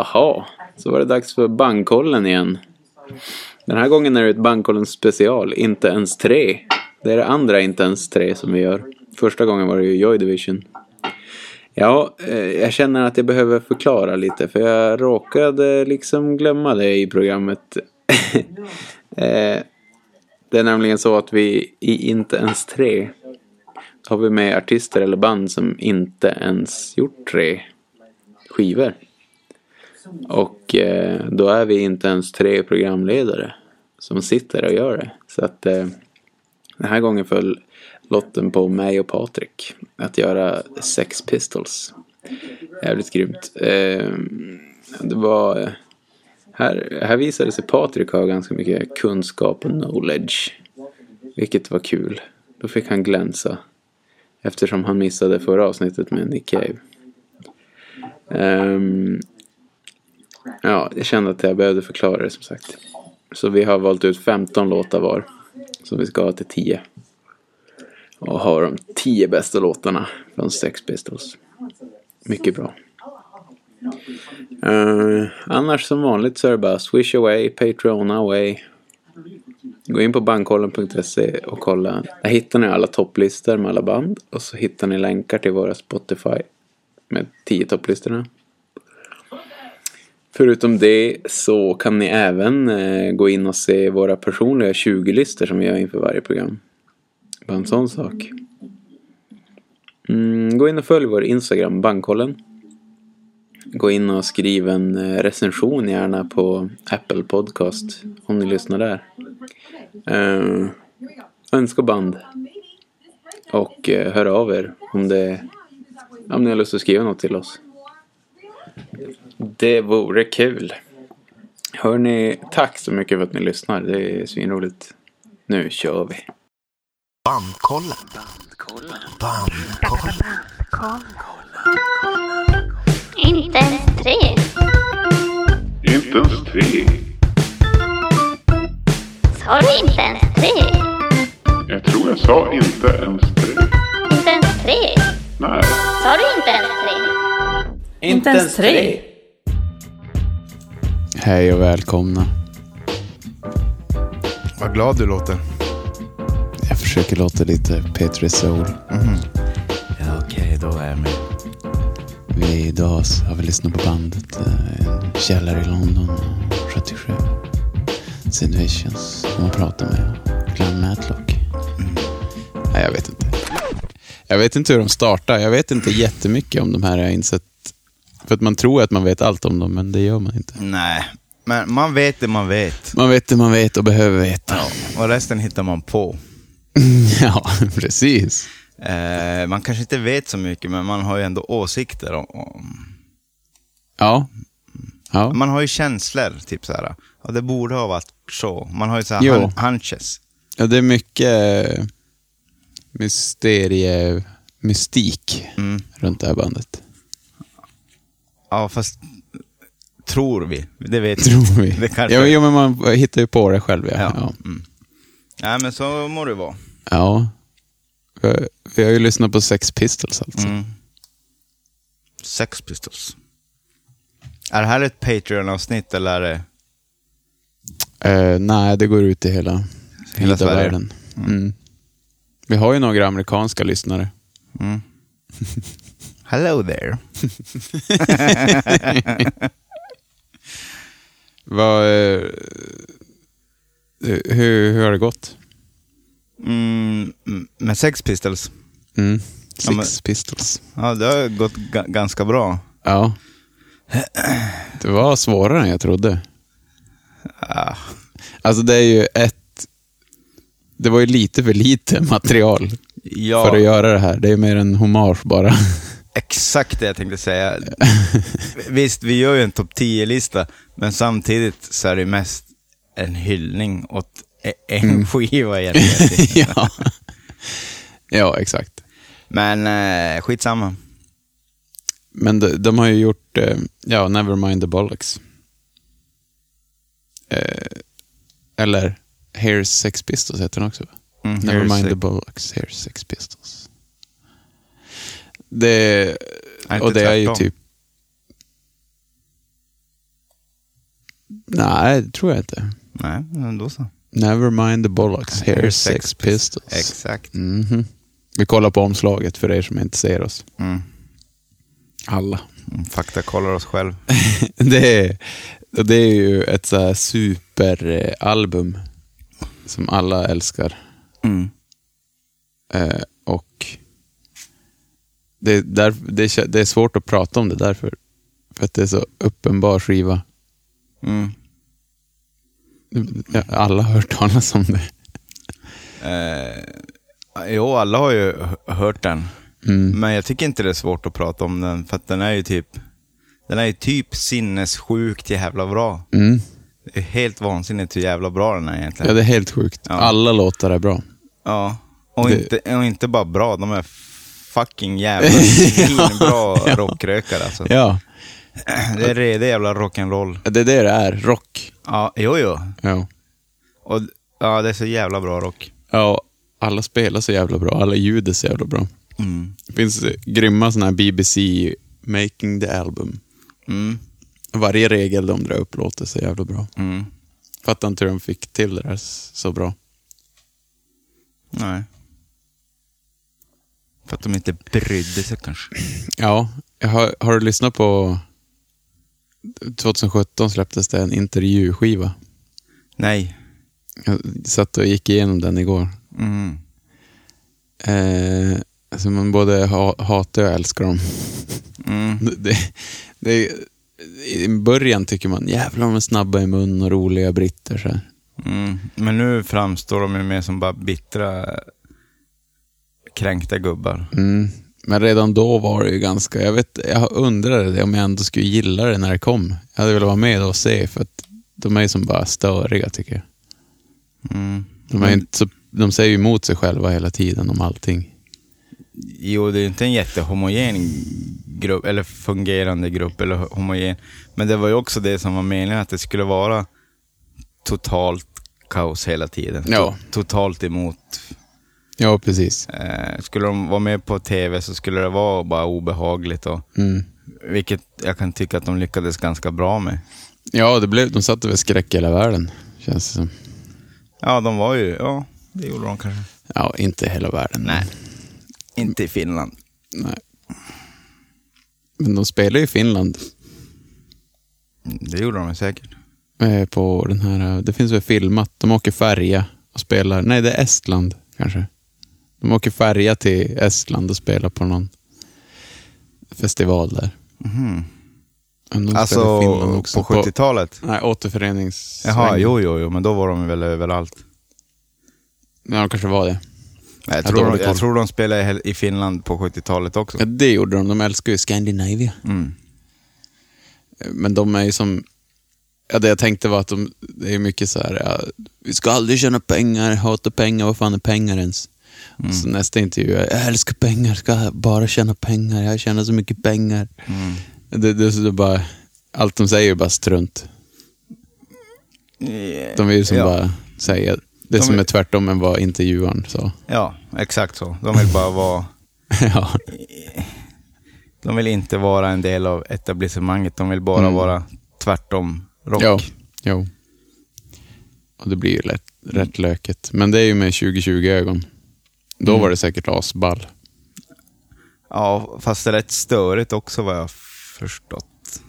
Jaha, så var det dags för bankkollen igen. Den här gången är det ett bankkollen special, inte ens tre. Det är det andra inte ens tre som vi gör. Första gången var det ju Joy Division. Ja, eh, jag känner att jag behöver förklara lite för jag råkade liksom glömma det i programmet. eh, det är nämligen så att vi i inte ens tre har vi med artister eller band som inte ens gjort tre skivor. Och eh, då är vi inte ens tre programledare som sitter och gör det. Så att eh, den här gången föll lotten på mig och Patrik att göra Sex Pistols. Jävligt grymt. Eh, det var... Här, här visade sig Patrik ha ganska mycket kunskap och knowledge. Vilket var kul. Då fick han glänsa. Eftersom han missade förra avsnittet med Nick Cave. Ehm, ja, jag kände att jag behövde förklara det som sagt. Så vi har valt ut 15 låtar var. Som vi ska ha till 10. Och har de 10 bästa låtarna från Sex Pistols. Mycket bra. Eh, annars som vanligt så är det bara Swish away, Patreon away. Gå in på bandkollen.se och kolla. Där hittar ni alla topplistor med alla band. Och så hittar ni länkar till våra Spotify med 10 topplistorna. Förutom det så kan ni även eh, gå in och se våra personliga 20-listor som vi gör inför varje program. Bara en sån sak. Mm, gå in och följ vår Instagram, bandkollen gå in och skriv en eh, recension gärna på Apple Podcast om ni lyssnar där. Eh, önska band och eh, hör av er om, det, om ni har lust att skriva något till oss. Det vore kul. Hörni, tack så mycket för att ni lyssnar. Det är svinroligt. Nu kör vi. Bandkollen. Bandkollen. Inte ens tre. Inte ens tre. Sa du inte ens tre? Jag tror jag sa inte ens tre. Inte ens tre? Nej. Sa du inte ens tre? Inte ens tre. Hej och välkomna. Vad glad du låter. Jag försöker låta lite Petri Soul. Ja, Okej, då är jag med. Vi idag så har vi lyssnat på bandet eh, en källare i London 77. Sid Vicious, som man pratar med. Glenn Matlock. Nej, jag vet inte. Jag vet inte hur de startar. Jag vet inte jättemycket om de här, jag har insett. För att man tror att man vet allt om dem, men det gör man inte. Nej, men man vet det man vet. Man vet det man vet och behöver veta. Och resten hittar man på. Ja, precis. Eh, man kanske inte vet så mycket, men man har ju ändå åsikter. Om, om. Ja. Ja. Man har ju känslor, typ så här. Och det borde ha varit så. Man har ju så Jo. här hun- hunches. Ja, det är mycket eh, mysterie, mystik Mm. runt det här bandet. Ja, fast tror vi. Det vet Tror vi. Det kanske... jo, jo, men man hittar ju på det själv. Ja. Ja. Mm. Ja. Nej, men så må det vara. ja. Vi- Vi har ju lyssnat på Sex Pistols alltså. Mm. Sex Pistols. Är det här ett Patreon-avsnitt eller är det... Eh, nej, det går ut i hela, vida Sverige. världen. Mm. Vi har ju några amerikanska lyssnare. Hello there. Vad, eh, hur, hur har det gått? Mm, mm, med Sex Pistols? Mm. Sex Ja, men- Pistols. Ja, det har gått ga- ganska bra. Ja. Det var svårare än jag trodde. Ah. Alltså det är ju ett... Det var ju lite för lite material Ja. för att göra det här. Det är mer en hommage bara. Exakt det jag tänkte säga. Visst, vi gör ju en topp 10-lista, men samtidigt så är det mest en hyllning åt e- en Mm. skiva egentligen. ja. ja, exakt. men eh, skitsamma. Men de, de har ju gjort, eh, ja, Nevermind the Bollocks. Eh, eller Here's Sex Pistols heter den också. va? Mm, Nevermind Here's the Sex- Bollocks, Here's Sex Pistols. Det, Är det och inte det är ju tvärtom? typ... Nej, det tror jag inte. Nej, men då så. Never mind the bollocks, here's Sex Pistols. Exakt. Mhm. Vi kollar på omslaget för er som inte ser oss. Mm. Alla. Fakta kollar Mm, oss själv. Det är, och det är ju ett så här superalbum som alla älskar. Mm. Eh, och det är, där, det, kä- det är svårt att prata om det därför. För att det är så uppenbar skiva. Mm. Ja, Alla har hört talas om det. Jo, alla har ju h- hört den. Mm. Men jag tycker inte det är svårt att prata om den, för att den är ju typ den är ju typ sinnessjukt jävla bra. Mm. Det är helt vansinnigt hur jävla bra den är egentligen. Ja, det är helt sjukt. Ja. Alla låtar är bra. Ja, och, Det- Inte, och inte bara bra, de är fucking jävla svinbra rockrökare alltså. Ja, Det är redig jävla rock'n'roll. det är det det är. Rock. Ja, jo, jo. Ja. Och, ja, det är så jävla bra rock. ja, och alla spelar så jävla bra. Alla ljud är så jävla bra. Mm. Det finns eh, grymma sådana här BBC Making the Album. Mm. Varje regel de drar upp låter så jävla bra. Mm. Fattar inte hur de fick till det där s- så bra. Nej. För att de inte brydde sig kanske. Ja, jag har, har du lyssnat på... 2017 släpptes det en intervjuskiva. Nej. Jag satt och gick igenom den igår. Mm. Eh, alltså man både ha, hatar och älskar dem. Mm. Det, det, det, I början tycker man jävlar de är snabba i mun och roliga britter. Så här. Mm. Men nu framstår de ju mer som bara bittra, kränkta gubbar. Mm. Men redan då var det ju ganska... Jag, vet, jag undrade det om jag ändå skulle gilla det när det kom. Jag hade velat vara med och se för att de är ju som bara störiga tycker jag. Mm. De, är ju inte så, de säger ju emot sig själva hela tiden om allting. Jo, det är inte en jättehomogen grupp, eller fungerande grupp, eller homogen. Men det var ju också det som var meningen, att det skulle vara totalt kaos hela tiden. Ja. To- Totalt emot. Ja, precis. Eh, skulle de vara med på tv så skulle det vara bara obehagligt. Och, Mm. vilket jag kan tycka att de lyckades ganska bra med. Ja, det blev, de satte väl skräck i hela världen, känns det som. Ja, de var ju, ja, det gjorde de kanske. Ja, inte hela världen. Nej, inte i Finland. Nej. Men de spelar ju i Finland Det gjorde de säkert. eh, på den här... eh, Det finns väl filmat. De åker färja och spelar. Nej, det är Estland kanske. De åker färja till Estland och spelar på någon festival där. Men de spelar i Mhm. Alltså, Finland också. på 70-talet? Nej, återförenings... Jaha, jo, jo, jo, men då var de väl överallt. Ja, de kanske var det. Nej, jag, Ja, tror dålig de, jag koll. tror de spelade i Hel- i Finland på 70-talet också. Ja, det gjorde de. De älskar ju Scandinavia. Mm. Men de är ju som... Ja, det jag tänkte var att de, det är mycket så här, ja, vi ska aldrig tjäna pengar, hata pengar, vad fan är pengar ens? Mm. Och så nästa intervju, är, jag älskar pengar, ska bara tjäna pengar, jag tjänar så mycket pengar. Mm. Det, det, så det är bara, allt de säger är bara strunt. De vill ju som ja. bara säga det De som är- är tvärtom än vad intervjuaren sa. Ja, exakt så. De vill bara vara... ja. De vill inte vara en del av etablissemanget. De vill bara vara tvärtom rock. Jo, jo. Och det blir ju lätt, rätt löket. Men det är ju med 2020-ögon. Då var det säkert asball. Ja, fast det är rätt störigt också vad jag har förstått.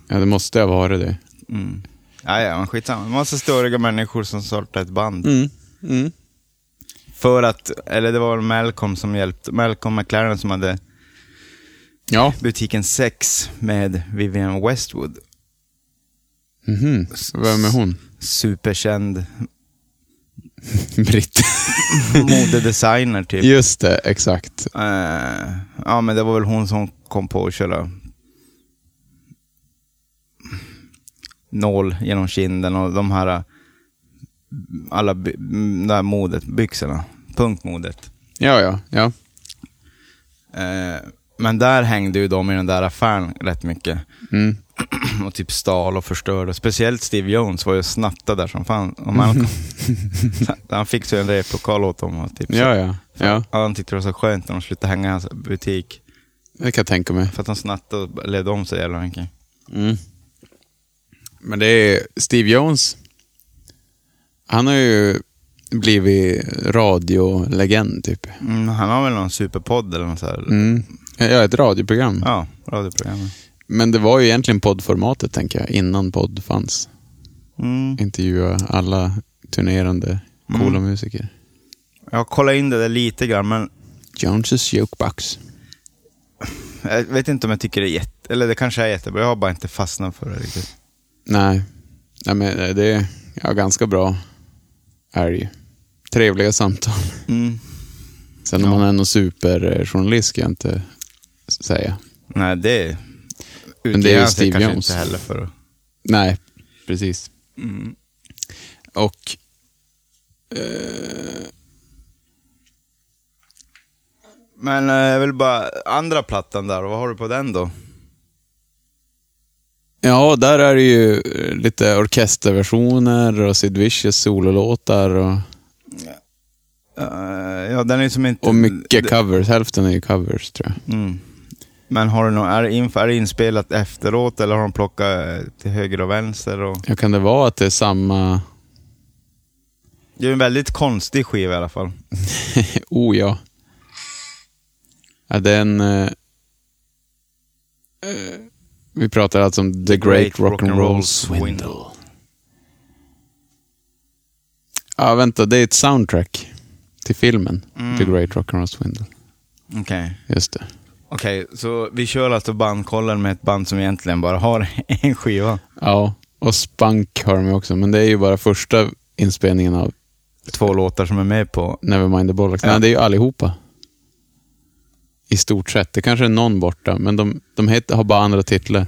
Ja, det måste ha varit det. Mm. Ja, ja, men skitsamma. En massa störiga människor som startade ett band. Mm. För att, eller det var väl Malcolm som hjälpte, Malcolm McLaren som hade Ja. butiken Sex med Vivienne Westwood. Mhm. Vem är hon? Superkänd Britt. modedesigner typ. Just det, exakt. Eh, ja, men det var väl hon som kom på att köra nål genom kinden och de här eh, alla by- mm, det här modet, byxorna, punkmodet. Ja, ja, ja. Eh, men där hängde ju de i den där affären rätt mycket Mm. och typ stal och förstörde. Speciellt Steve Jones var ju snattad där som fan. Och man, han fick ju en replokal åt dem och typ så- Ja, ja. Ja, Ja, han tyckte det var så skönt när de slutade hänga i hans butik. det kan jag tänka mig. För att han snattade och levde om sig jävla mycket. Mm. Men det är Steve Jones. Han har ju blivit radiolegend typ. Mm, han har väl någon superpodd eller något så här. Mm. Ja, ett radioprogram. Ja, radioprogram. Men det var ju egentligen poddformatet tänker jag, innan podd fanns. Mm. Intervjua alla turnerande coola musiker. Jag kollade in det där lite grann, men Jones' jukebox. jag vet inte om jag tycker det är jätte... Eller det kanske är jättebra, jag har bara inte fastnat för det riktigt. Nej, Nej men eh, det är ja, ganska bra. Är det ju. Trevliga samtal. Mm. Sen om han är någon superjournalist ska jag inte s- säga. Nej, det... är ju utger han sig Steve kanske Jones. inte heller för. att- Nej, precis. Mm. Och... Men eh, jag vill bara... Andra plattan där, vad har du på den då? Ja, där är det ju eh, lite orkesterversioner och Sid Vicious sololåtar och, Eh, ja, den är som inte... och mycket det- covers. Hälften är ju covers tror jag. Mm. Men har du någon, är, det inf- är det inspelat efteråt eller har de plockat eh, till höger och vänster? Och... Ja, kan det vara att det är samma... Det är en väldigt konstig skiva i alla fall. oh ja. ja den... Eh, eh, vi pratar alltså om The Great, Rock and Roll Swindle. Ja, vänta. Det är ett soundtrack till filmen The Great Rock and Roll Swindle. Okej. Just det. Okej, så vi kör alltså bandkollen med ett band som egentligen bara har en skiva. Ja, och Spunk har de ju också, men det är ju bara första inspelningen av Två låtar som är med på. Nevermind the Bollocks. Ja. Nej, det är ju allihopa. I stort sett. Det kanske är någon borta, men de, de heter, har bara andra titlar.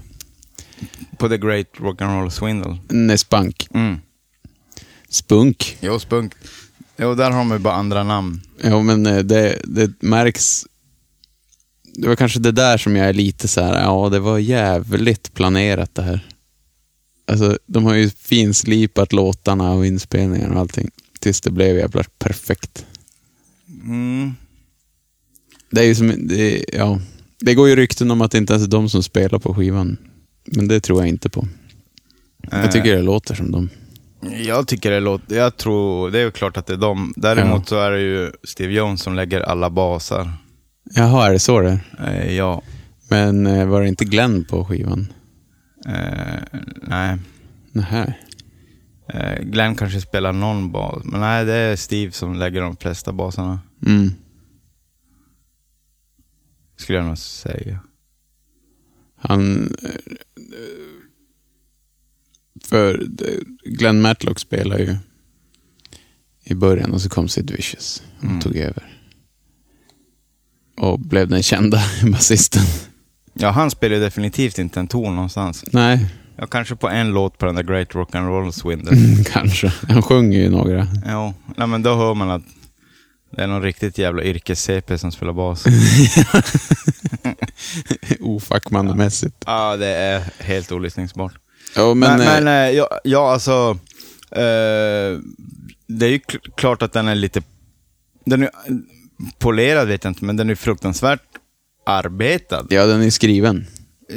På The Great Rock and Roll Swindle. Nej, Spunk. Mm. Spunk. Jo, Spunk. Jo, där har man ju bara andra namn. Ja, men eh, det, det märks. Det var kanske det där som jag är lite så här, ja, det var jävligt planerat det här. Alltså, de har ju finslipat låtarna och inspelningarna och allting. Tills det blev jävla perfekt. Mm. Det är ju som, det, ja. Det går ju rykten om att det inte ens är de som spelar på skivan. Men det tror jag inte på. Jag tycker det låter som de. Jag tycker det låter... Jag tror... Det är ju klart att det är dem. Däremot Ja. så är det ju Steve Jones som lägger alla basar. Jaha, är det så det är? Eh, ja. Men eh, var det inte Glenn på skivan? Eh, nej. Nähä. Eh, Glenn kanske spelar någon bas. Men nej, det är Steve som lägger de flesta basarna. Mm. Skulle jag nog säga. Han... eh, eh, För eh, Glenn Matlock spelar ju i början och så kom Sid Vicious och Mm. tog över. Och blev den kända basisten. Ja, han spelar ju definitivt inte en ton någonstans. Nej, Ja, kanske på en låt på den där Great Rock'n'Roll Mm. Swindle. kanske. Han sjunger ju några. jo, nej, men då hör man att det är någon riktigt jävla yrkes-CP som spelar bas. ofackmannamässigt. ja, det är helt olyssningsbart. Ja, men, Men, men, eh, eh, ja, ja, alltså. Eh, det är ju kl- klart att den är lite... Den är polerad vet jag inte, men den är fruktansvärt arbetad. ja, den är skriven.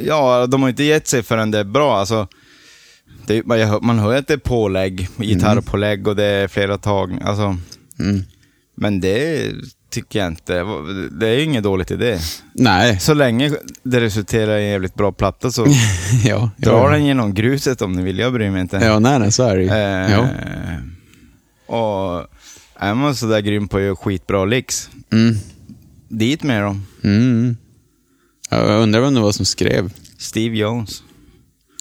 Ja, de har inte gett sig förrän det är bra. Alltså, det, är- man, jag hör- man hör ju att det är pålägg, gitarrpålägg och det är flera tag. Alltså, Mm. men det tycker jag inte. Det är ju inget dåligt i det. Nej, Så länge det resulterar i en jävligt bra platta så ja. drar ja. den genom gruset om ni vill. Jag bryr mig inte. Ja, nej, nej, så är det ju. Eh, Ja. Och är man sådär grym på att göra skitbra licks, Mm. dit med dem. Mm. Ja, Jag undrar vem det var som skrev. Steve Jones.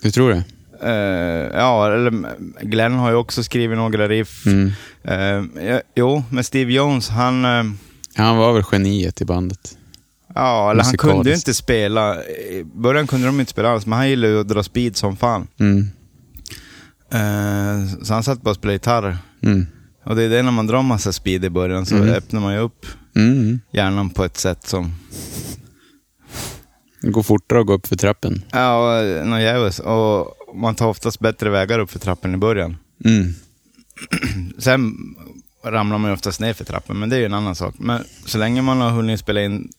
Du tror det? Eh, ja, eller Glenn har ju också skrivit några riff. Mm. Eh, ja, jo, men Steve Jones, han... eh, Han var väl geniet i bandet. ja, eller han Musikaliskt. kunde ju inte spela. I början kunde de inte spela alls, men han gillade ju att dra speed som fan. Mm. Eh, så han satt bara och spelade gitarr. Mm. Och det är det när man drar massa speed i början så öppnar man ju upp Mm. hjärnan på ett sätt som... Det går fortare att gå upp för trappen. Ja, och- någon jävels. Och man tar oftast bättre vägar upp för trappen i början. Mm. Sen ramlar man ju oftast ner för trappen, men det är ju en annan sak. Men så länge man har hunnit spela in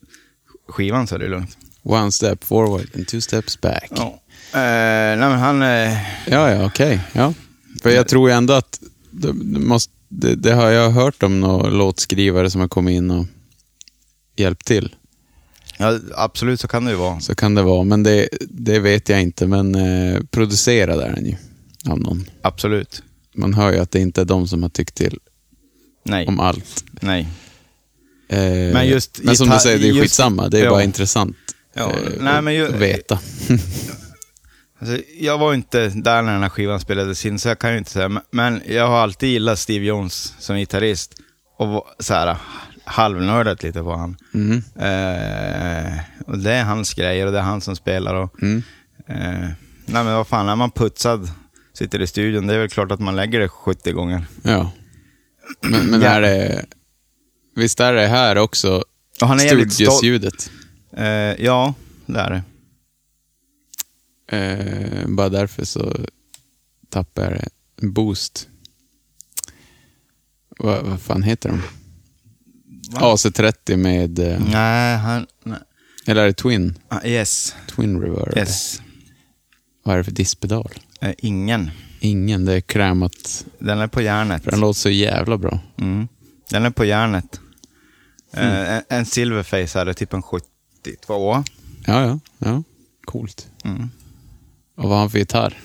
skivan så är det lugnt. One step forward and two steps back. Ja. nej, men han... eh, Ja, ja, okej. Ja. För jag tror ju ändå att det, det, måste, det, det har jag hört om några låtskrivare som har kommit in och hjälpt till. ja, absolut så kan det ju vara. Så kan det vara, men det, det vet jag inte. Men eh, producerad är den ju av någon. Absolut. Man hör ju att det inte är de som har tyckt till Nej. om allt. Nej. Eh, Men just men som gitarr- du säger, det är just- skitsamma. Det är ja. bara intressant Ja, eh, nej, att men ju- veta. Alltså, jag var inte där när den här skivan spelades in, så jag kan ju inte säga. men- Men jag har alltid gillat Steve Jones som gitarrist. Och var- så här, halvnördat lite på han. Mm. Eh, och det är hans grejer och det är han som spelar. Och, Mm. eh, nej men vad fan, är man putsad, sitter i studion, det är väl klart att man lägger det 70 gånger. Ja. Men, men Ja. är det... Visst är det här också Och han är jävligt stolt. studiosljudet? Eh, ja, det är det. Eh, bara därför så tappar jag det. boost. Vad vad fan heter de? AC30 med... Eh, Nej, han... Nej. Eller är det Twin? Ah, Yes, Twin Reverb? yes. Vad är det för disspedal? Eh, ingen. Ingen, det är krämat. Den är på järnet. För den låter så jävla bra. Mm. Den är på järnet. Mm. Eh, en, en silverface hade typ en 72. Ja, ja. ja. Coolt. Mm. Och vad har han för gitarr?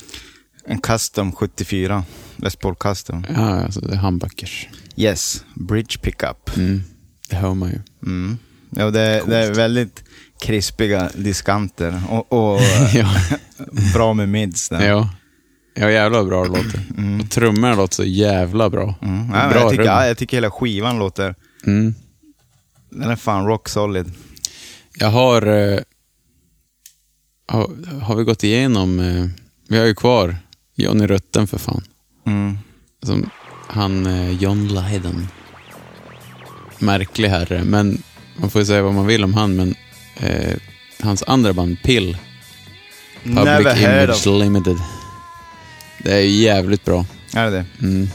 En custom 74. Les Paul custom. Ja, alltså det är humbuckers. Yes, bridge pickup. Mm. Det hör man ju. Mm. Ja, det, det är väldigt krispiga diskanter och, och ja. bra med mids. Där. ja. Ja, jävla bra det låter. Och trummor låter så jävla bra. Mm. Ja, men bra jag, tycker, rum. ja, jag tycker hela skivan låter... Mm. Den är fan rock solid. Jag har, eh, har... Har vi gått igenom... Eh, vi har ju kvar Johnny Rutten för fan. Mm. Som han eh, John Lydon. Märklig herre, men man får ju säga vad man vill om han, men eh, hans andra band Pill, Public Never heard Image of... Limited. Det är ju jävligt bra. Är det det? Mm.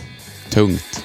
Tungt.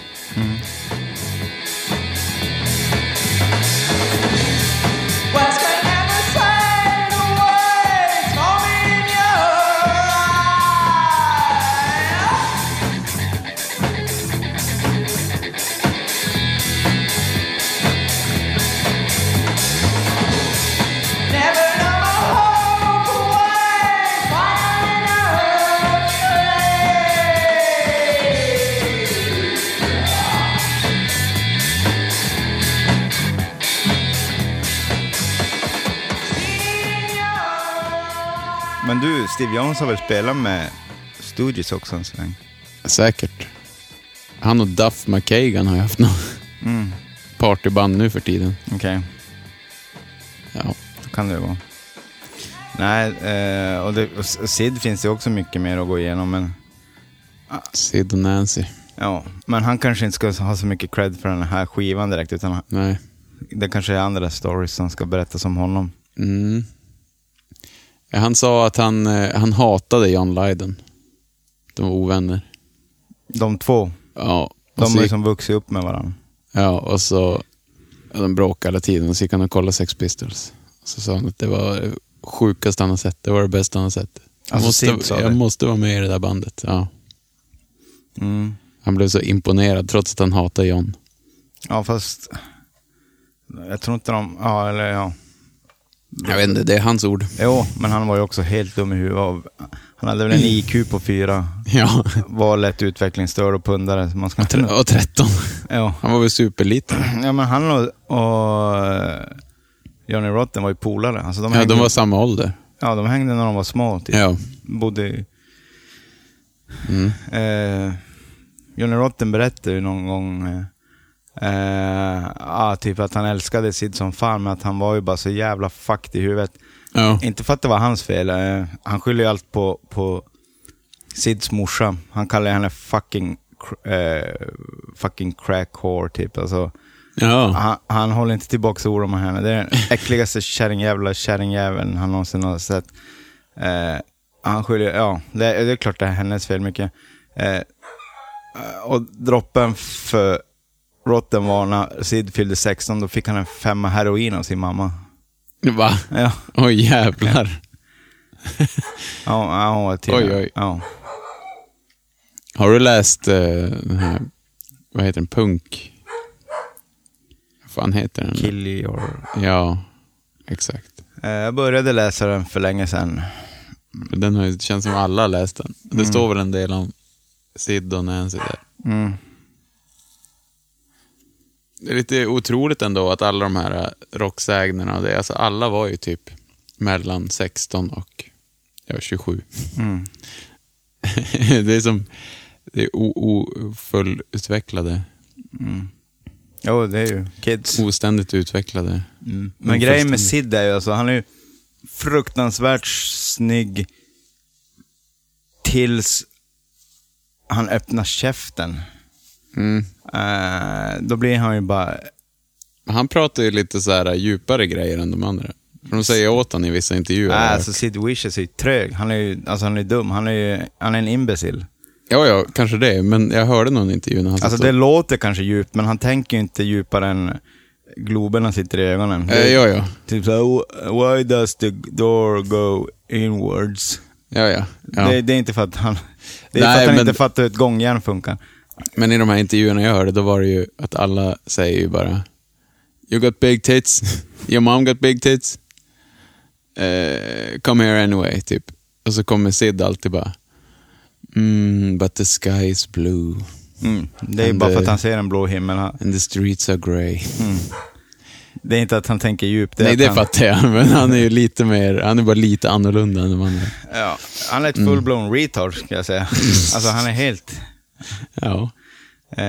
Men du, Steve Jones har väl spelat med Stooges också en sväng? Säkert. Han och Duff McKagan har ju haft några Mm. partyband nu för tiden. Okej. Ja. Så kan det vara. Nej, eh, och, det, och S- och Sid finns det också mycket mer att gå igenom. Men, Sid och Nancy. ja, men han kanske inte ska ha så mycket cred för den här skivan direkt. Utan han- Nej. det kanske är andra stories som ska berättas om honom. Mm. Han sa att han, eh, han hatade John Lydon. De var ovänner. De två, Ja. och de så har gick- liksom vuxit upp med varandra. Ja, och så ja, de bråkade hela tiden och så gick han och kollade Sex Pistols. Så sa han att det var det sjukaste han har sett, det var det bästa han har sett. Jag, Alltså, Sid måste, sa jag det. måste vara med i det där bandet. Ja. Mm. Han blev så imponerad trots att han hatar John. Ja, fast jag tror inte de... Ja, eller ja. Jag vet inte, det är hans ord. Jo, men han var ju också helt dum i huvudet. av- Han hade väl en IQ på fyra. Ja, Var lätt utvecklingsstörd och pundare. så Man ska inte... och 13. Ja. Han var väl superliten. Ja, men han och, och eh, Johnny Rotten var ju polare. Alltså, de, Ja, hängde, de var samma ålder. ja, de hängde när de var små. Typ. Ja. Bodde i, Mm. eh, Johnny Rotten berättade ju någon gång eh, eh, ah, typ att han älskade Sid som fan, men att han var ju bara så jävla fucked i huvudet. Ja. Inte för att det var hans fel. Eh, han skyller ju allt på, på Sids morsa. Han kallar henne fucking, cr- eh, fucking crack whore typ. Alltså, ja. Han, han håller inte tillbaka ord om henne. Det är den äckligaste kärringjävla kärringjäveln han någonsin har sett. Eh, han skyller, ja, det, är- det är klart det är hennes fel mycket. Eh, och droppen för rotten var när Sid fyllde 16, då fick han en femma heroin av sin mamma. Va? Ja, Oj jävlar. Ja, ja, ja, till, Oj, oj. Ja. Har du läst eh, den här, vad heter den, punk? Vad fan heter den? Kill your... Ja, exakt. Eh, Jag började läsa den för länge sedan. Den har ju, det känns som alla har läst den. Det står väl en del om Sid och Nancy där. Mm. Det är lite otroligt ändå att alla de här eh, rocksägnerna och det, alltså alla var ju typ mellan 16 och ja, 27. Mm. det är som, det är o- ofullutvecklade, Jo, det är ju kids. oständigt utvecklade. Men grejen med Sid är ju alltså, han är ju fruktansvärt snygg tills han öppnar käften. Mm. Eh, då blir han ju bara... Han pratar ju lite så här djupare grejer än de andra. För de säger åt honom i vissa intervjuer. Nej, alltså Sid Wishes är ju trög. Han är ju alltså, han är dum. Han är ju han är en Alltså, imbecill. Ja, ja, kanske det. Men jag hörde någon intervju när han Alltså satt det och- låter kanske djupt, men han tänker ju inte djupare än globerna sitter i ögonen. Det är Eh, ja, ja. Typ såhär, "Wh- why does the door go inwards? ja, ja. ja. Det, det är inte för att han, det är Nej, för att han men- inte fattar hur ett gångjärn funkar. Men i de här intervjuerna jag hörde, då var det ju att alla säger ju bara You got big tits. Your mom got big tits. Eh, come here anyway, typ. Och så kommer Sid alltid bara Mm, but the sky is blue Mm. Det är ju Men bara det- för att han ser en blå himmel. Han- and the streets are grey. Det är inte att han tänker djupt. Nej, att det han, fattar jag, men han är ju lite mer, han är bara lite annorlunda än de andra. ja, han är Mm. ett full-blown retard, ska jag säga. alltså han är helt... Ja. Eh,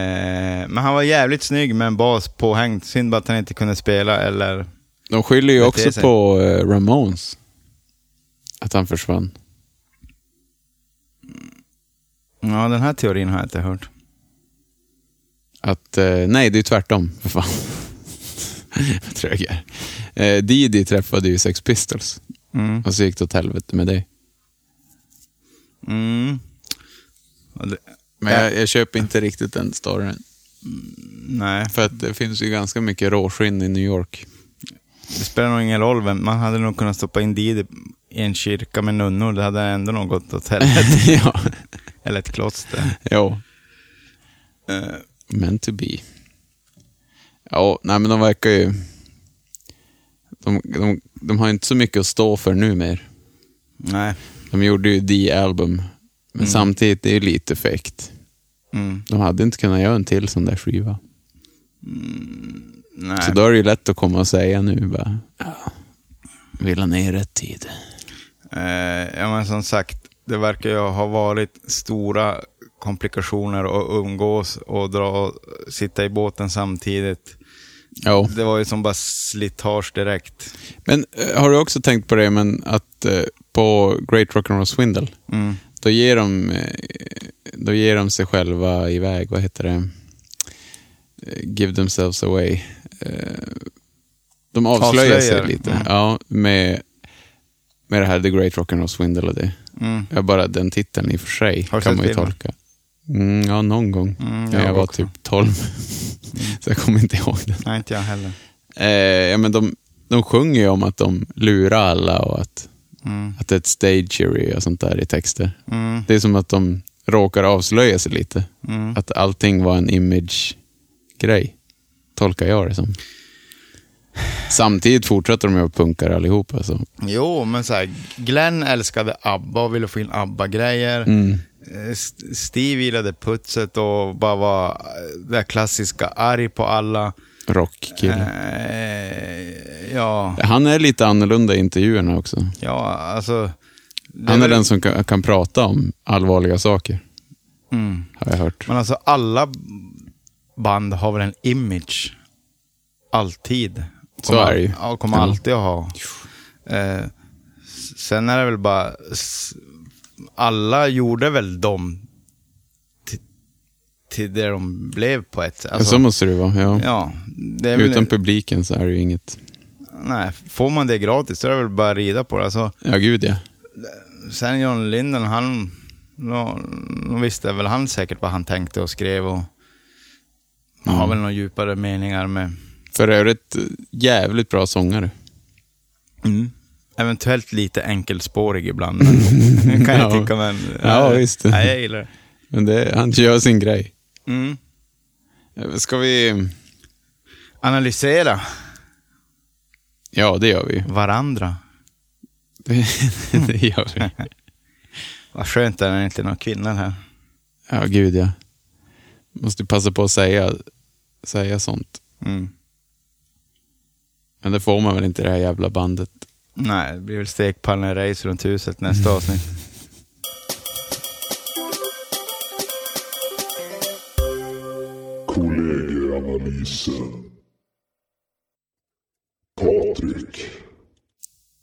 men han var jävligt snygg med en bas påhängd. Synd bara att han inte kunde spela eller... De skyller ju Beter också sig. på eh, Ramones. Att han försvann. Ja, den här teorin har jag inte hört. Att, eh, nej, det är ju tvärtom. För fan. Vad trög jag är. eh, Didi träffade ju Sex Pistols Mm. och så gick det åt helvete med det. Mm. Och det- Men jag, jag köper inte riktigt den storyn. Nej, För att det finns ju ganska mycket råskinn i New York. det spelar nog ingen roll vem. Man hade nog kunnat stoppa in Didi i en kyrka med nunnor. Det hade ändå nog gått åt helvete. ja, eller ett kloster. jo. Eh, Meant to be. Ja, nej men de verkar ju... De, de, de har inte så mycket att stå för nu mer. nej. De gjorde ju The Album, men samtidigt det är ju lite fäkt. Mm. De hade inte kunnat göra en till sån där skiva. Så nej. då är det ju lätt att komma och säga nu bara, ja, vill ha ner rätt tid. Eh, ja, men som sagt, det verkar ju ha varit stora komplikationer att umgås och dra, sitta i båten samtidigt. Ja, Det var ju som bara slitage direkt. men eh, har du också tänkt på det, men att eh, på Great Rock'n'Roll Swindle, Mm. då ger, de, eh, då ger de sig själva iväg, vad heter det, Eh, give themselves away. Eh, De avslöjar, Avslöjar. sig lite, Mm. ja, med, med det här The Great Rock'n'Roll Swindle och det. Mm. Ja, bara den titeln i och för sig Har du kan sett man ju filmen? tolka. Mm, ja, någon gång. Mm, jag, jag var också. typ 12, Mm. så jag kommer inte ihåg den. Nej, inte jag heller. Eh, ja, men de, de sjunger ju om att de lurar alla och att, Mm. att det är ett stagery och sånt där i texter. Mm. Det är som att de råkar avslöja sig lite. Mm. Att allting var en image-grej, tolkar jag det som. Samtidigt fortsätter de ju att alltså, punkare allihopa. Så. Jo, men så här, Glenn älskade ABBA och ville få in ABBA-grejer. Mm. Eh, St- Steve gillade putset och bara var eh, det där klassiska arg på alla. Rockkille. Eh, ja, Han är lite annorlunda i intervjuerna också. ja, alltså. det Han är väl- den som kan, kan prata om allvarliga saker, Mm. har jag hört. Men alltså alla band har väl en image. Alltid. Så är det ju. Ja, kommer Ja. alltid att ha. Eh, s- sen är det väl bara... s- Alla gjorde väl dem till, till det de blev på ett sätt. Alltså, så måste det vara, ja. ja, det är väl, Utan publiken så är det ju inget... nej, får man det gratis så är det väl bara att rida på det. Alltså, Ja, gud ja. sen John Linden, han... nå- nå visste väl han säkert vad han tänkte och skrev och Mm. har väl några djupare meningar med... För övrigt, eh, jävligt bra sångare. eventuellt lite enkelspårig ibland. Men, kan jag Ja. tycka, men... eh, Ja, visst. Nej, jag gillar det. Men det, han gör sin grej. Mm. Ska vi... Analysera Ja, det gör vi. varandra. Det, Mm. det gör vi. Vad skönt är det inte är några kvinnor här. Ja, gud ja. Måste passa på att säga, säga sånt. Mm. Men det får man väl inte i det här jävla bandet. Nej, det blir väl stekpannan-race runt huset nästa Mm. avsnitt. Kollegieanalysen. Patrik.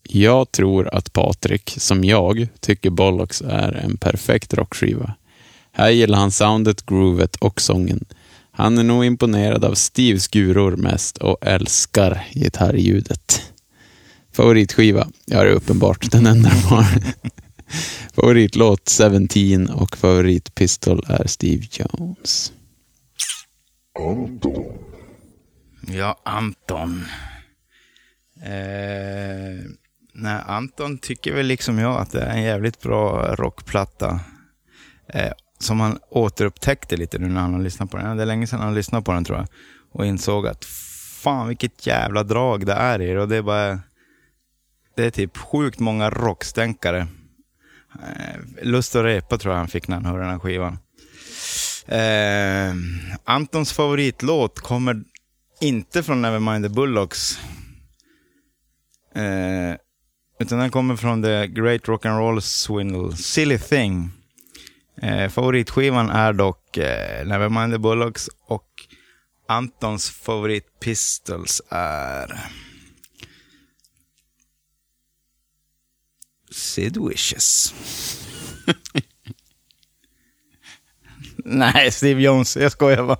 Jag tror att Patrik, som jag, tycker Bollocks är en perfekt rockskiva. Här gillar han soundet, groovet och sången. Han är nog imponerad av Steves guror mest och älskar gitarrljudet. Favoritskiva? Ja, det är uppenbart. Den enda de har. Favoritlåt 17 och favoritpistol är Steve Jones. Anton. Ja, Anton. Eh, nej, Anton tycker väl liksom jag att det är en jävligt bra rockplatta. Eh, som han återupptäckte lite nu när han lyssnade på den. Det är länge sedan han lyssnade på den tror jag. Och insåg att fan vilket jävla drag det är i det. Och det är bara... Det är typ sjukt många rockstänkare. Eh, lust att repa tror jag han fick när han hörde den här skivan. Eh, Antons favoritlåt kommer inte från Nevermind the Bullocks. Eh, utan den kommer från The Great Rock and Roll Swindle, Silly Thing. Eh, favoritskivan är dock eh, Nevermind the Bullocks och Antons favorit Pistols är Sid Wishes. Nej, Steve Jones. Jag skojar bara.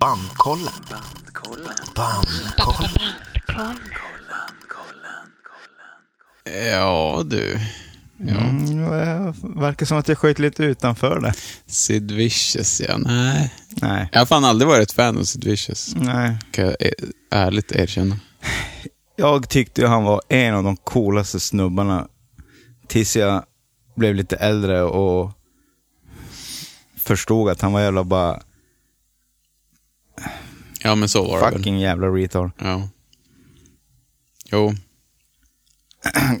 Bandkollen. Bandkollen. Ja, du. Mm, det verkar som att jag sköt lite utanför det. Sid Vicious, ja. Nej. Nej. Jag har fan aldrig varit ett fan av Sid Vicious. Nej. Kan jag e- ärligt erkänna. Jag tyckte ju han var en av de coolaste snubbarna tills jag blev lite äldre och förstod att han var jävla bara Ja, men så var det väl. fucking jävla retard. Ja. Jo.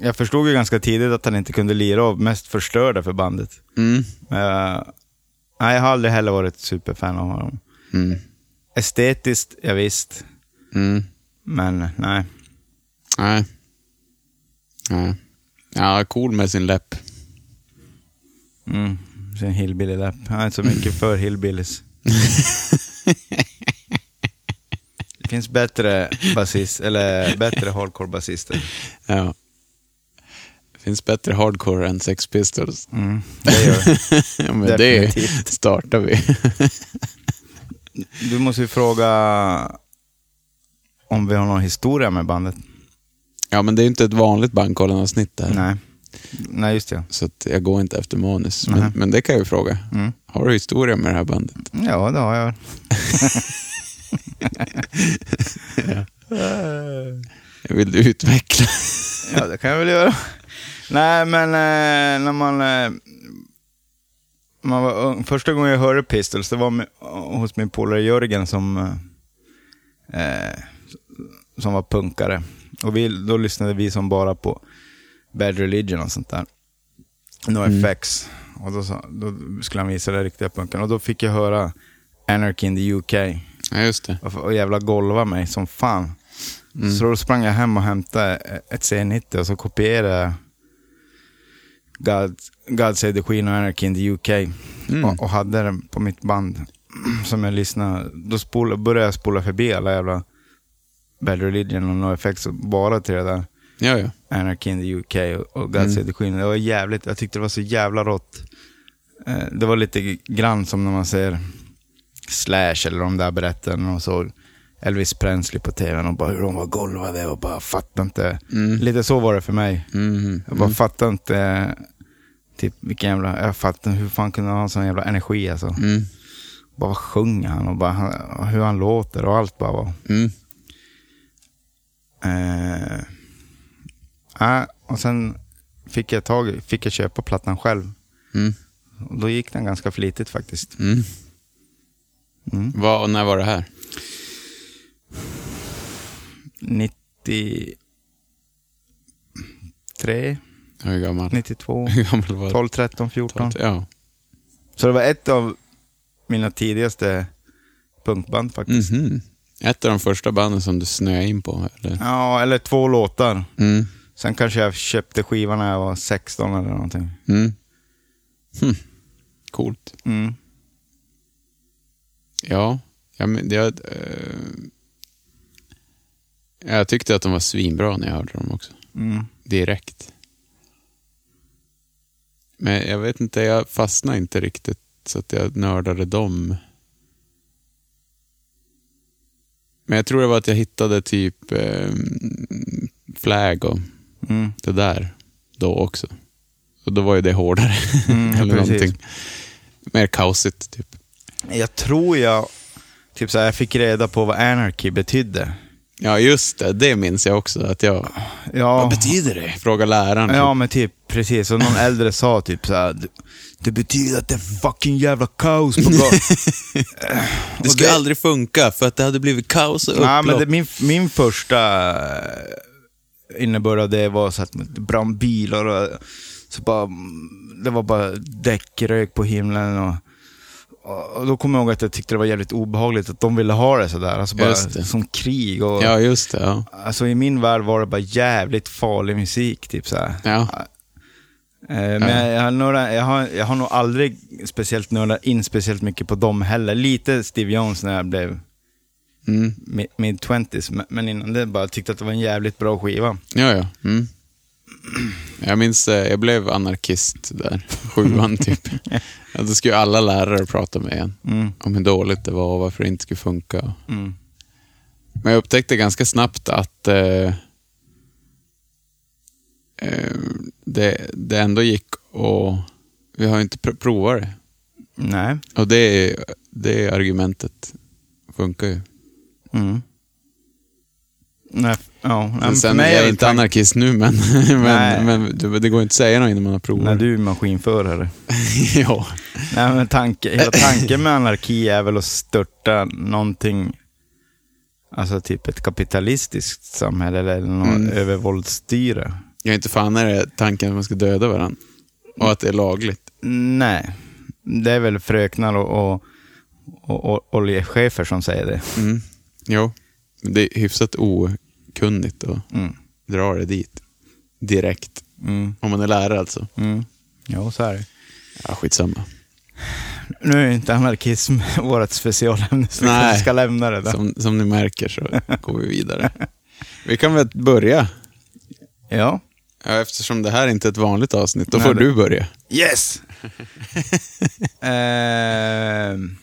Jag förstod ju ganska tidigt att han inte kunde lira och mest förstörde för bandet. Mm. Eh, nej, jag har aldrig heller varit superfan av honom. Mm. Estetiskt, ja, visst. Mm. Men nej. Nej. Nej. Ja, cool med sin läpp. Mm. Sin hillbilly-läpp. Han är inte så mycket för hillbillies. Det finns bättre basist, eller bättre hardcore-basister. Ja. Det finns bättre hardcore än Sex Pistols. Mm, det gör det. Ja, men Definitivt. det startar vi. Du måste ju fråga om vi har någon historia med bandet. ja, men det är ju inte ett vanligt Bandkollen-avsnitt det här. Nej. Nej, just det. Så att jag går inte efter manus. Nej. Men, men det kan jag ju fråga. Mm. Har du historia med det här bandet? Ja, det har jag. Vill du utveckla? Ja, det kan jag väl göra. Nej, men eh, när man, eh, man var ung, första gången jag hörde Pistols, det var med, hos min polare Jörgen som, eh, eh, som var punkare. Och vi, då lyssnade vi som bara på Bad Religion och sånt där. NoFX. Och då, sa- då skulle han visa det riktiga punken. Och då fick jag höra Anarchy in the UK Ja, just det. och, och jävla golva mig som fan. Så då sprang jag hem och hämtade ett C90 och så kopierade jag God, God Save the Queen och Anarchy in the UK och, och hade den på mitt band som jag lyssnade. Då spola, började jag spola förbi alla jävla Bad Religion och NoFX och bara till det där Ja, ja. Anarchy in the UK och, och God Save the Queen. Det var jävligt, jag tyckte det var så jävla rått. Eh, Det var lite grann som när man ser Slash eller de där berättarna och så Elvis Presley på tvn och bara hur de var golvade och bara fattar inte. Lite så var det för mig. Mhm. Jag bara fattar inte, eh, typ vilken jävla, jag fattar hur fan kunde han ha sån jävla energi alltså. Mm. Bara vad sjunger han och bara han- och hur han låter och allt bara. var- Mm. Eh, ja, och sen fick jag, tag, i- fick jag köpa plattan själv. Mm. Och då gick den ganska flitigt faktiskt. Mm. Mm. Vad- och när var det här? 93, Hur gammal? 92, Hur gammal var du? 12, 13, 14. Ja. Så det var ett av mina tidigaste punkband faktiskt. Mhm. Ett av de första banden som du snöade in på? Eller? Ja, eller två låtar. Mm. Sen kanske jag köpte skivan när jag var 16 eller någonting. Mm. Hm. Coolt. Mm. Ja, jag, men- jag, eh, jag tyckte att de var svinbra när jag hörde dem också. Mm. Direkt. Men jag vet inte, jag fastnade inte riktigt så att jag nördade dem. Men jag tror det var att jag hittade typ eh, Flag och Mm. det där då också. Och då var ju det hårdare. Mm, Eller precis. någonting. Mer kaosigt typ. Jag tror jag, typ så här, jag fick reda på vad anarchy betydde. Ja, just det. Det minns jag också. Att jag, Vad Ja, betyder det? Fråga läraren. ja men typ precis. Och någon äldre sa typ så här, "Det- det betyder att det är fucking jävla kaos på gatan. det och skulle det- aldrig funka för att det hade blivit kaos och upplopp. Nej, men det, min, min första eh, innebörd av det var så att det brann bilar och så bara, det var bara däckrök på himlen. Och, och då kommer jag ihåg att jag tyckte det var jävligt obehagligt att de ville ha det sådär. Alltså bara Just det. som krig. Och, Ja, just det. Ja. Alltså i min värld var det bara jävligt farlig musik, typ så här. Ja. Eh, Men jag, jag, har några, jag, har, jag har nog aldrig speciellt nördat in speciellt mycket på dem heller. Lite Steve Jones när jag blev Mm. mi- mid-twenties, men- men innan det bara tyckte att det var en jävligt bra skiva. ja, ja. Mm. Jag minns, eh, jag blev anarkist där, sjuan typ. Ja, då skulle ju alla lärare prata med en Mm. om hur dåligt det var och varför det inte skulle funka. Mm. Men jag upptäckte ganska snabbt att eh, eh, det, det ändå gick och vi har ju inte pr- provat det. Nej. Och det, det argumentet funkar ju. Mm. Nej, f- ja. nej, men Men för sen mig är jag det inte tack- anarkist nu, men, Nej. men, men det, det går inte att säga något innan man har provat. Nej, du är maskinförare. ja. Nej, men tanke, hela tanken med anarki är väl att störta någonting, alltså typ ett kapitalistiskt samhälle eller något Mm. övervåldsstyre. Jag är inte fan är det tanken att man ska döda varandra. Och att det är lagligt. Nej, det är väl fröknar och, och, och, och oljechefer som säger det. Mm. Jo. Men det är hyfsat okunnigt att Mm. dra det dit. Direkt. Mm. Om man är lärare alltså. Mm. Jo, så är det. Ja, skitsamma. Nu är inte anarkism vårt specialämne, så vi Nej. kanske ska lämna det där. Som, som ni märker så går vi vidare. Vi kan väl börja. Ja. Ja, eftersom det här inte är ett vanligt avsnitt, då Nej, får det- du börja. Yes! Ehm.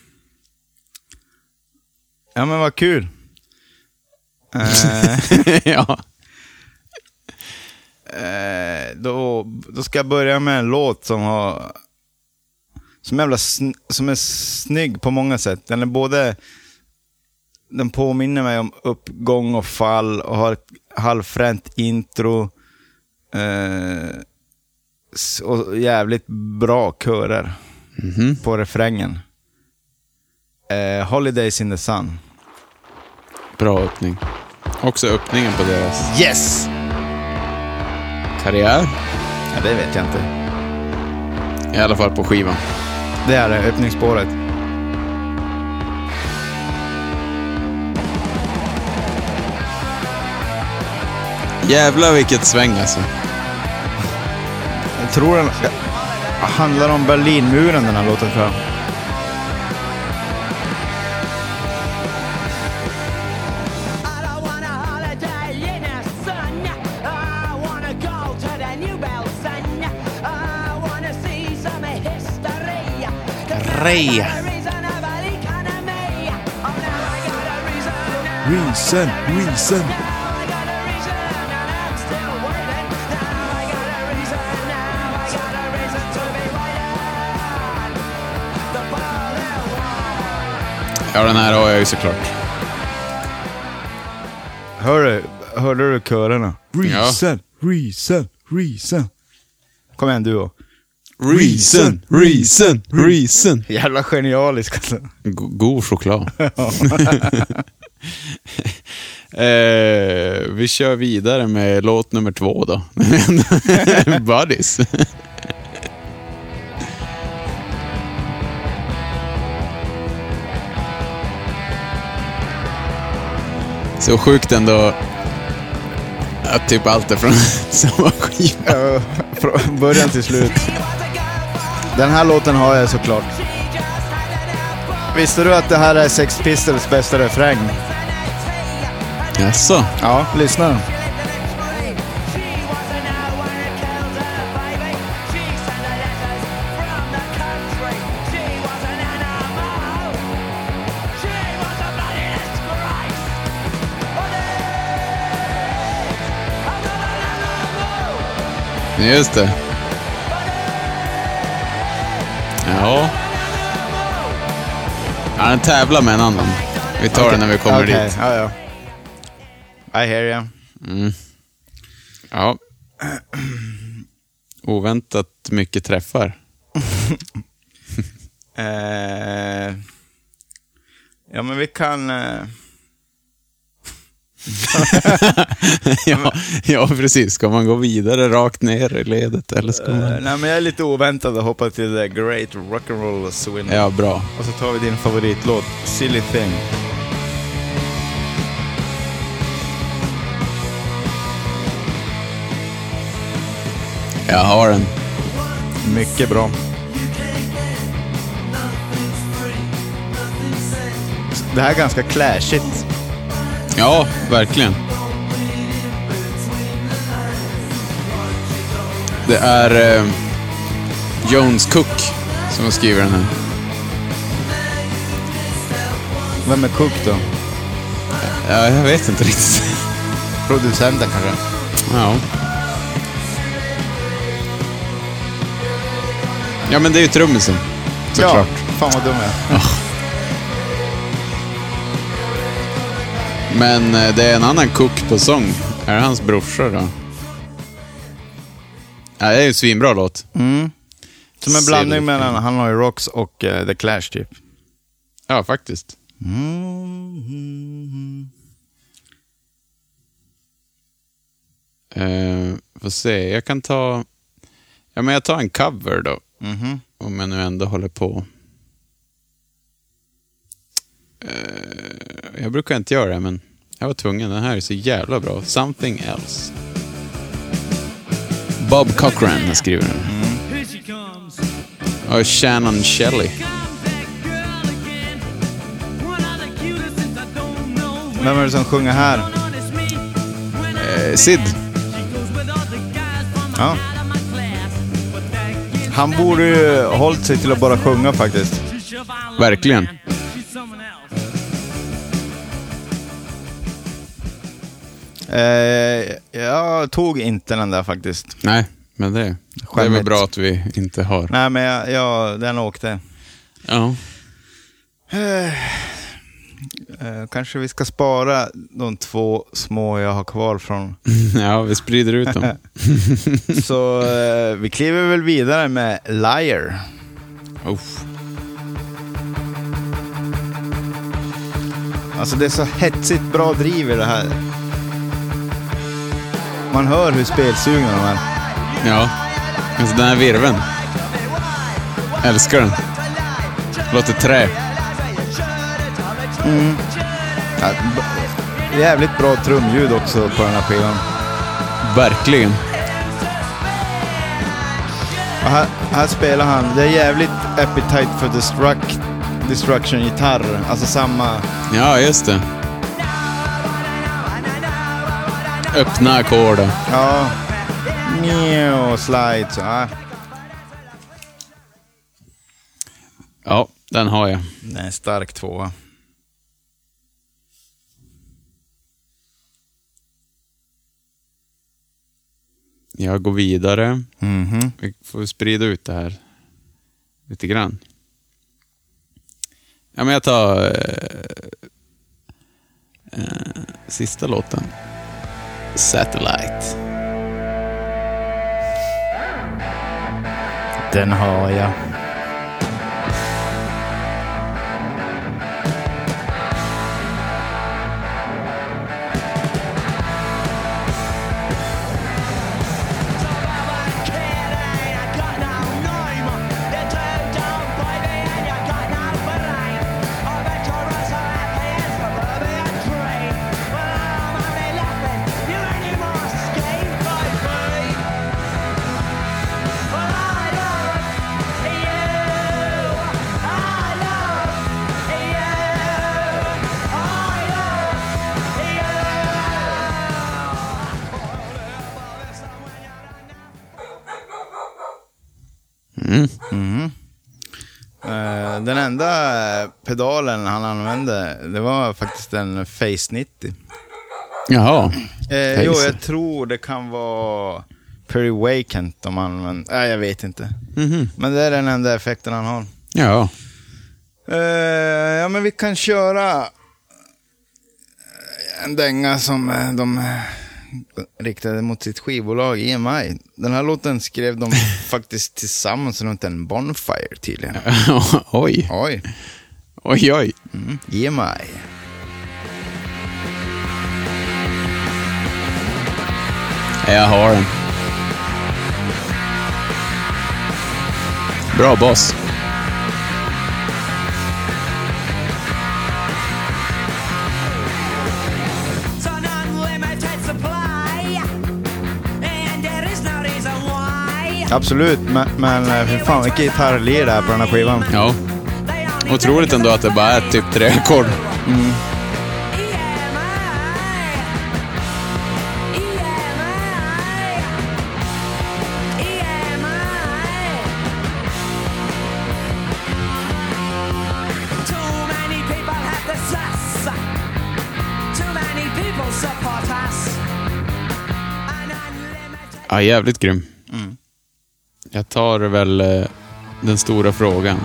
Ja men vad kul. Eh, ja. eh, då, då ska jag börja med en låt som har... Som, är jävla sn- som är snygg på många sätt. Den är både... Den påminner mig om uppgång och fall och har ett halvfränt intro. Eh, s- och jävligt bra körer Mhm. på refrängen. Eh, Holidays in the sun. Bra öppning. Också öppningen på deras Yes! karriär. Ja, det vet jag inte. I alla fall på skivan. Det här är öppningsspåret. Jävlar vilket sväng alltså. Jag tror den eh, handlar om Berlinmuren den här låten tror jag. I want a holiday in the sun. I want to go to the New Belsen. I want to see some history. Ray. Reason of an economy. Oh, now I got a reason. Reason, reason. Now I got a reason, and I'm still waiting. Now I got a reason. Now I got a reason to be waiting. The ball and wall. Ja, den här har jag ju såklart. Hör du, hörde du körerna? Ja. Reason, reason, reason. Kom igen du då. Reason, reason, reason. Jävla genialisk alltså. Go- god choklad. eh, vi kör vidare med låt nummer två då. Buddies. Så sjukt ändå att typ allt är från samma skiva. Eh, Från början till slut. Den här låten har jag såklart. Visste du att det här är Sex Pistols bästa refräng? Jaså? Ja, lyssna. Just det. Ja. ja den tävlar med en annan. Vi tar den när vi kommer Okej, dit. Ja, ja. I hear you. Ja. Oväntat mycket träffar. Eh, ja, men vi kan... eh, ja, ja, precis. Ska man gå vidare rakt ner i ledet eller ska eh, man... nej, men jag är lite oväntad och hoppar till The Great Rock'n'Roll Swindle. Ja, bra. Och så tar vi din favoritlåt, Silly Thing. Jag har den. Mycket bra. Det här är ganska clashigt. Ja, verkligen. Det är eh, Jones Cook som har skrivit den här. Vem är Cook då? Ja, jag vet inte riktigt. Producenten kanske? Ja. Ja, men det är ju trummisen. Såklart. Ja, fan vad dum jag är. Men eh, det är en annan cook på sång. Är det hans brorsa då? Ja, det är ju en svinbra låt. Mm. Som en Silly blandning mellan Hanoi Rocks och eh, The Clash typ. Ja, faktiskt. Eh, får se, jag kan ta... Ja, men jag tar en cover då. Om jag nu ändå håller på. Eh, jag brukar inte göra det, men jag var tvungen. Den här är så jävla bra. Something else. Bob Cochran har skrivit den. Och Shannon Shelley. Vem är det som sjunger här? Eh, Sid. Ja. Han borde ju hållit sig till att bara sjunga faktiskt. Verkligen. Eh, jag tog inte den där faktiskt. Nej, men det, det är väl Skämmigt. bra att vi inte har. Nej, men jag, jag, den åkte. Ja. Eh, kanske vi ska spara de två små jag har kvar från. ja, vi sprider ut dem. Så eh, vi kliver väl vidare med Liar. Uff. Alltså det är så hetsigt bra driv i det här. Man hör hur spelsugna de är. Ja, alltså den här virveln. Älskar den. Låter trä. Ja, b- Jävligt bra trumljud också på den här skivan. Verkligen. Och här, här spelar han, det är jävligt Appetite for Destruct, Destruction-gitarr. Alltså samma... Ja, just det. Öppna ackord. och- Ja. Mjau, slide. Så, ja. Ja, den har jag. Det är en stark tvåa. Jag går vidare. Mhm. Vi får sprida ut det här lite grann. Ja, men jag tar eh, eh, sista låten. Satellite. Den har jag. Eh, Den enda pedalen han använde, det var faktiskt en Face 90. Jaha. Eh, jo, Face. jag tror det kan vara Perry Wakent de använder. Nej, jag vet inte. Mhm. Men det är den enda effekten han har. Ja. Eh, ja, men vi kan köra en dänga som eh, de riktade mot sitt skivbolag EMI. Den här låten skrev de faktiskt tillsammans runt en Bonfire tydligen. oj. Oj, E Oj, oj. EMI. Jag har den. Bra bas. It's an unlimited supply, and there is no reason why. Absolut, men, men eh, fy fan vilket gitarrlir det är på den här skivan. Ja. They only Otroligt ändå att det bara är typ tre ackord. Mm. EMI. EMI. EMI. Too many people have the sus. Too many people support us. An unlimited Ja, jävligt grym. Jag tar väl eh, den stora frågan.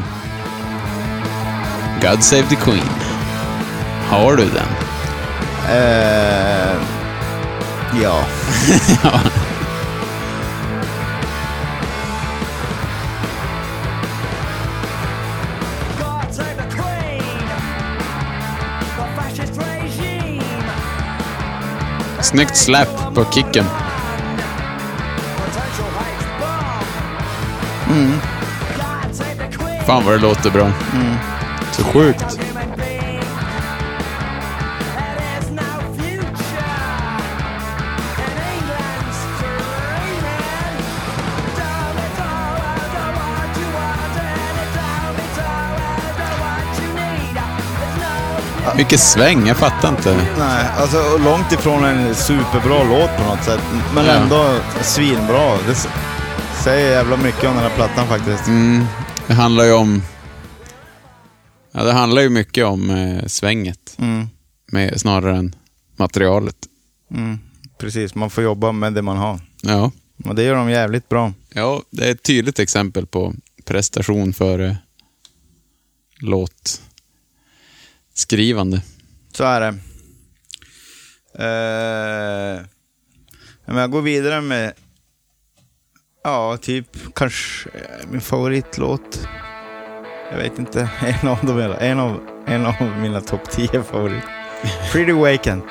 God save the Queen. Har du den? Eh, ja. God save the Queen. The fascist regime. Snyggt släpp på kicken. Potential hate bomb. God save the Queen. Mm. Fan vad det låter bra. Så sjukt. Mycket sväng, jag fattar inte. Nej, alltså och långt ifrån en superbra låt på något sätt. Men Ja. ändå svinbra. Det s- säger jävla mycket om den här plattan faktiskt. Det handlar ju om... Ja, det handlar ju mycket om eh, svänget. Mm, Med, snarare än materialet. mm. Precis, man får jobba med det man har. Ja. Och det gör de jävligt bra. ja, det är ett tydligt exempel på prestation eh, före låt skrivande. Så är det. Eh, men jag går vidare med, ja, typ kanske eh, min favoritlåt. Jag vet inte, en av, dem, eller en av, en av mina topp 10 favorit. Pretty Vacant.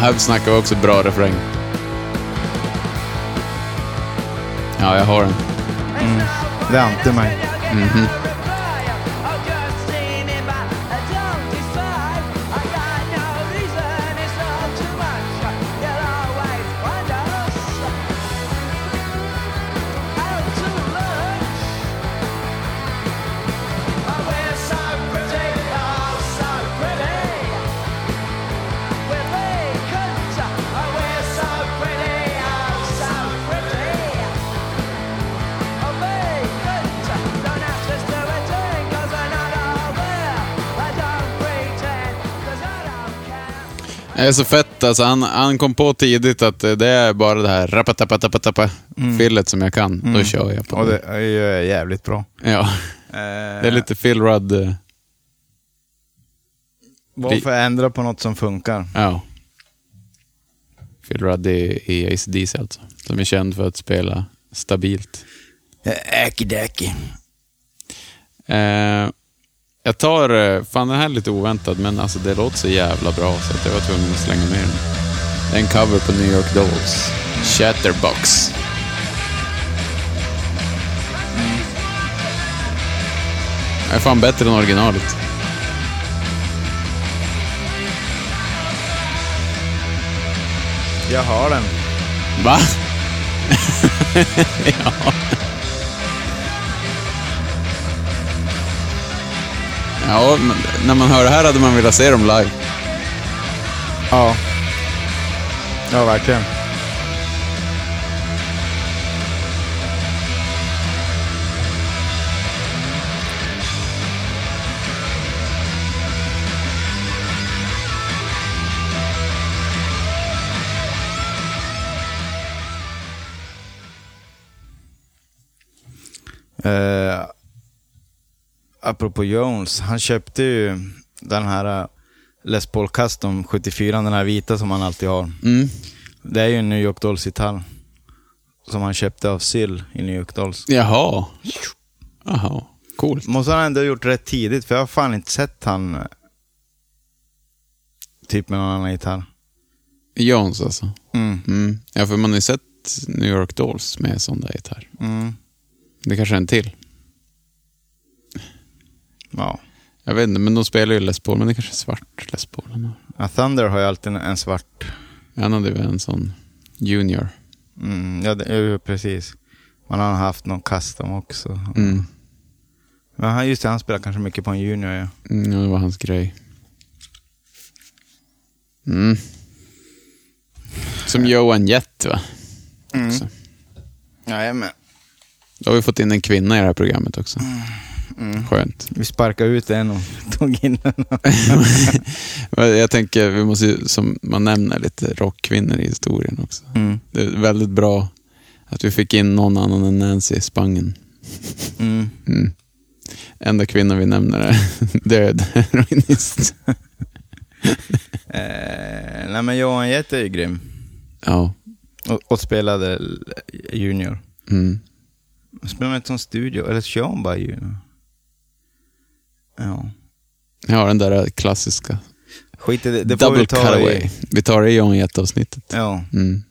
Här snackar vi också bra refräng. Ja, jag har den. Det är inte mig. Pretty. Oh, baby, don't ask us to Det är så fett alltså. Han, han kom på tidigt att eh, det är bara det här rapatapatapatapa fillet som jag kan. Då kör jag på Och det. det är ju jävligt bra. Ja, Eh, det är lite Phil Rudd. eh, Varför ändra på något som funkar? Ja. Phil Rudd i, i ACDC alltså. Som är känd för att spela stabilt. Äkidäki. Eh, jag tar, eh, fan den här är lite oväntad, men alltså det låter så jävla bra så att jag var tvungen att slänga med den. Det är en cover på New York Dolls. Chatterbox. Det är fan bättre än originalet. Jag har den. Va? ja. Ja, men när man hör det här hade man velat se dem live. Ja. Ja, verkligen. Eh, apropå Jones, han köpte ju den här eh, Les Paul Custom 74, den här vita som han alltid har. Mm. Det är ju en New York Dolls-gitarr. Som han köpte av Sill i New York Dolls. Jaha. Jaha. Coolt. Måste han ändå ha gjort rätt tidigt, för jag har fan inte sett han eh, typ med någon annan gitarr. Jones alltså. Mm. Mm. Ja, för man har ju sett New York Dolls med sån där gitarr. Mm. Det kanske är en till. Ja. Jag vet inte, men de spelar ju Les Paul, men det kanske är svart Les Paul. han har. Ja, Thunder har ju alltid en- en svart. Han hade väl en sån junior. Mm, ja, det, ja, precis. Man har haft någon custom också. Mm. Men han, just det, han spelar kanske mycket på en junior. Ja. Mm, ja, det var hans grej. Mm. Som Johan Jett va? Mm. Också. Jajamän. Då har vi fått in en kvinna i det här programmet också. Skönt. Vi sparkade ut en och tog in en. Men Jag tänker, vi måste ju, som man nämner, lite rockkvinnor i historien också. Mm. Det är väldigt bra att vi fick in någon annan än Nancy Spangen. Mm. Mm. Enda kvinnan vi nämner är död heroinist. Eh, nej, men Johan Jett är ju grym. Ja. Och, och spelade l- junior. Mm. Spelar man inte som studio? Eller kör han bara junior? Ja. Ja, den där klassiska. Skit i det. Det får Double vi ta cutaway. i. Vi tar det i Johan Jett-avsnittet. Ja. Mm.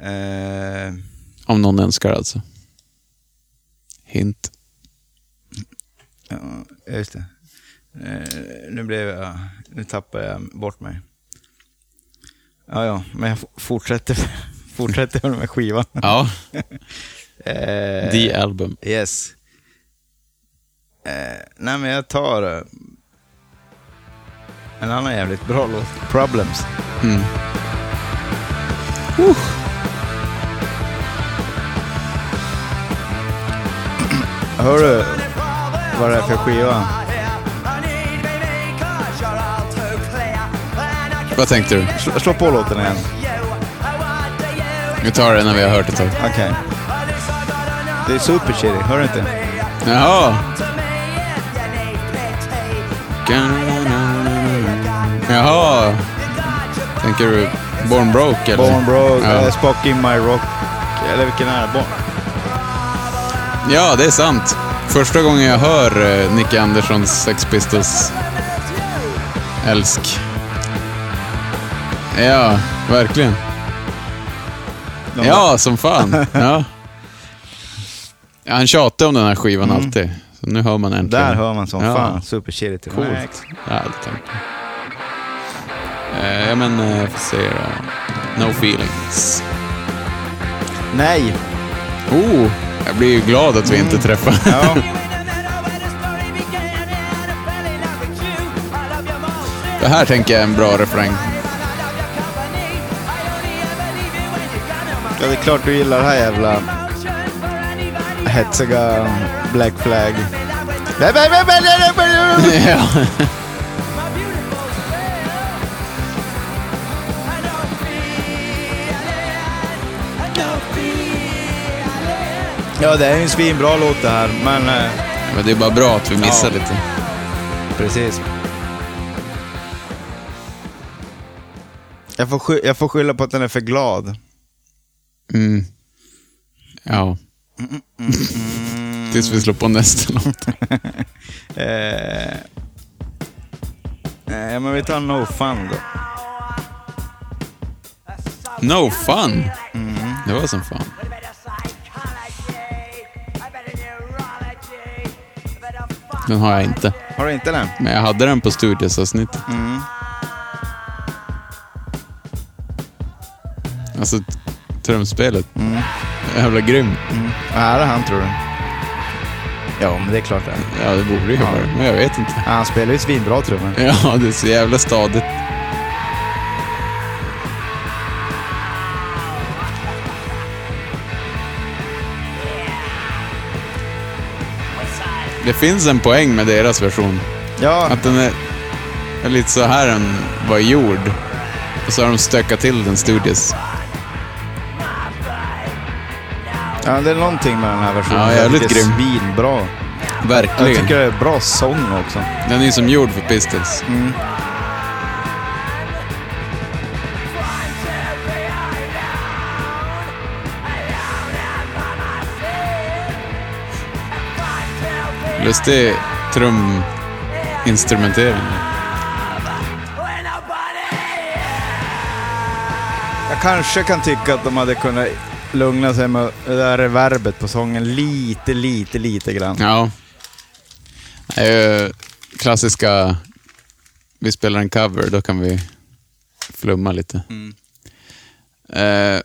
Eh, Om någon önskar alltså. Hint. ja, just det. Eh, nu blev jag... Nu tappade jag bort mig. Ja, ja. Men jag f- fortsätter, fortsätter med skivan. Ja, Eh, the album. Yes. Eh, nej, men jag tar eh, en annan jävligt bra låt. Problems. Hör du vad det är för skiva? Vad tänkte du? Slå, slå på låten igen. Vi tar det när vi har hört det ett tag. Okej. Det är Super Chitty, hör du inte? Jaha. Jaha. Tänker du Born Broke eller? Born Broke, Ja, eh, Spock in My Rock. Eller vilken är det? Born. ja det är sant. Första gången jag hör eh, Nicky Anderssons Sex Pistols älsk. Ja, verkligen. Ja, som fan. Ja. Ja, Han tjatade om den här skivan alltid. Så nu hör man äntligen. Mm. Där hör man som Ja. fan. Super Chitty till Coolt. Jag har aldrig tänkt på det. Eh, Ja, men eh, får se då. No feelings. Nej! Oh, jag blir ju glad att vi inte träffar. Mm. Ja. Det här tänker jag är en bra refräng. Ja, det är klart du gillar det här jävla hetsiga Black Flag. ja. Ja, det är ju en svinbra låt det här, men eh, Men det är bara bra att vi missar Ja. lite. precis. Jag får, sky- jag får skylla på att den är för glad. Mm. Ja. Tills vi slår på nästa låt. Eh, eh, men vi tar No Fun då. No fun! Det var som fan. Den har jag inte. Har du inte den? Men jag hade den på studiosavsnittet. Alltså, t- trumspelet. Jävla grymt. Är det han tror du? Ja, men det är klart det är. Ja, det borde ju vara det, men jag vet inte. Ja, Han spelar ju svinbra trummor. Ja, det är så jävla stadigt. Det finns en poäng med deras version. Ja, Att den är, är lite så här den var gjord. Och så har de stökat till den studios. ja, det är någonting med den här versionen. Ja, jag jävligt tycker grym. Det är svinbra. Jag Verkligen. tycker det är bra sång också. Den är ju som gjord för Pistols. Lustig truminstrumentering. Jag kanske kan tycka att de hade kunnat lugna sig med det där reverbet på sången lite, lite, lite grann. Ja. Det är ju klassiska... Vi spelar en cover, då kan vi flumma lite. Eh.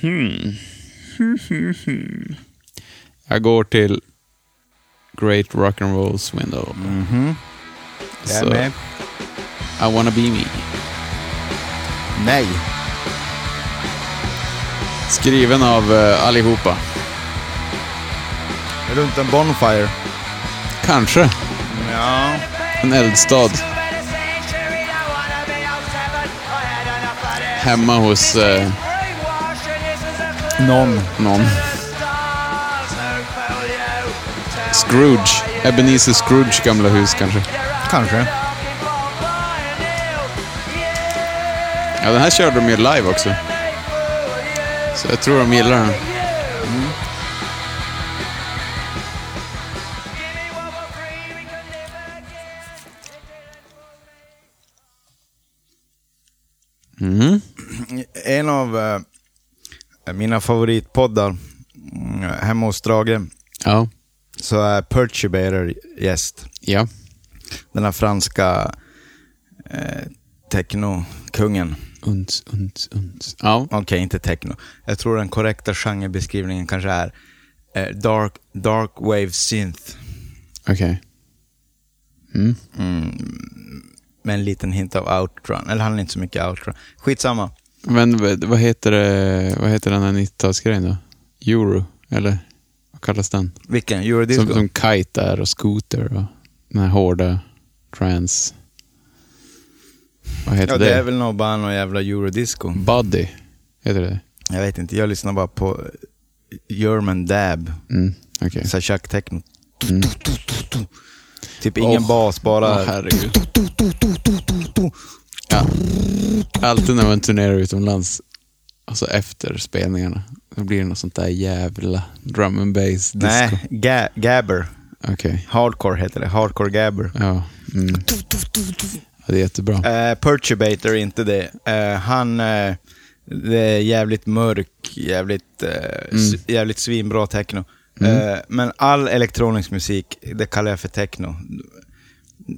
Hmm. Jag går till Great Rock and Rolls window. Jag är Så, med. I wanna be me. Nej. Skriven av eh, allihopa. Runt en Bonfire. Kanske Ja. en eldstad hemma hos eh, Någon. någon. Scrooge. Ebenezer Scrooge gamla hus kanske. Kanske. Ja, den här körde de ju live också. Så jag tror de gillar den. Mm. En av eh, mina favoritpoddar mm, hemma hos Drage Ja. så är Perturbator gäst. Ja. Den här franska eh, techno-kungen. Uns, uns, uns. Ja. Okej, inte techno. Jag tror den korrekta genrebeskrivningen kanske är eh, dark, dark wave synth. Okej. Mm. Med en liten hint av outrun. Eller han är inte så mycket outrun. Skitsamma. Men v- vad heter, det, vad heter den här 90-talsgrejen då? Euro, eller? Vad kallas den? Vilken? Eurodisco? Som, som Kite är och Scooter och den här hårda trans... Vad heter ja, det? det är väl nog bara någon jävla eurodisco. Buddy, heter det Jag vet inte, jag lyssnar bara på German Dab. mm, okej. Så här Chuck Techno. Mm. Typ ingen Åh. bas, bara... Åh, herregud. Ja. Alltid när man turnerar utomlands, alltså efter spelningarna, då blir det något sånt där jävla drum and bass disco. nej, ga Gabber. Okej. Hardcore heter det. Hardcore Gabber. Ja. Mm. ja. Det är jättebra. Uh, Perturbator är inte det. Eh, han... eh, det är jävligt mörk, jävligt, eh, s- jävligt svinbra techno. Eh, men all elektronisk musik, det kallar jag för techno.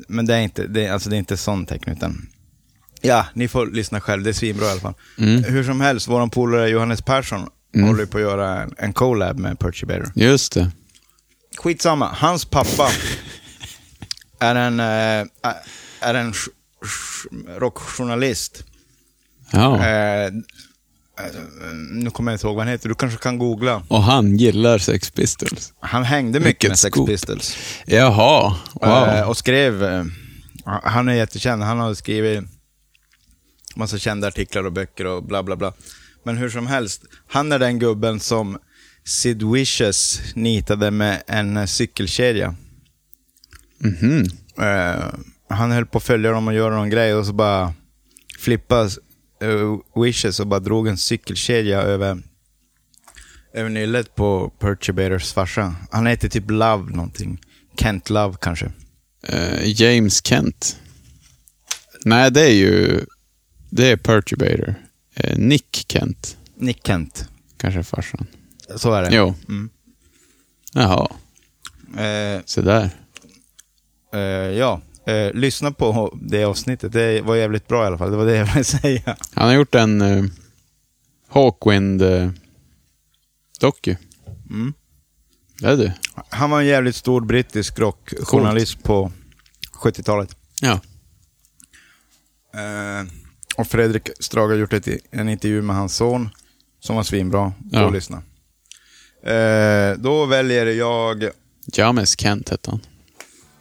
Men det är inte, det är, alltså det är inte sån techno, utan... Ja, ni får lyssna själv. Det är svinbra i alla fall. Hur som helst, vår polare Johannes Persson håller ju på att göra en, en collab med Perturbator. Just det. Skitsamma, hans pappa är en, eh, är en sch- sch- rockjournalist. Ja. Eh, eh, nu kommer jag inte ihåg vad han heter, du kanske kan googla. Och han gillar Sex Pistols. Han hängde mycket Vilket med Sex scoop. Pistols. Jaha. Eh, Wow. och skrev, eh, han är jättekänd, han har skrivit massa kända artiklar och böcker och bla bla bla. Men hur som helst, han är den gubben som Sid Vicious nitade med en eh, cykelkedja. Mhm. Eh, han höll på att följa dem och göra någon grej och så bara flippade eh, Wishes och bara drog en cykelkedja över, över nyllet på Perturbators farsa. Han heter typ Love någonting. Kent Love kanske. Eh, James Kent. Nej, det är ju... Det är Perturbator. Eh, Nick Kent. Nick Kent. Kanske är farsan. Så är det. Jo. Mm. Jaha, Eh, så där. Eh, ja, eh, lyssna på det avsnittet. Det var jävligt bra i alla fall. Det var det jag ville säga. Han har gjort en eh, Hawkwind-doku. Mm. Ja du. Han var en jävligt stor brittisk rockjournalist på 70-talet. Ja. Eh, och Fredrik Strage har gjort ett, en intervju med hans son som var svinbra. Gå Ja. och lyssna. Eh, då väljer jag James Kent hette han.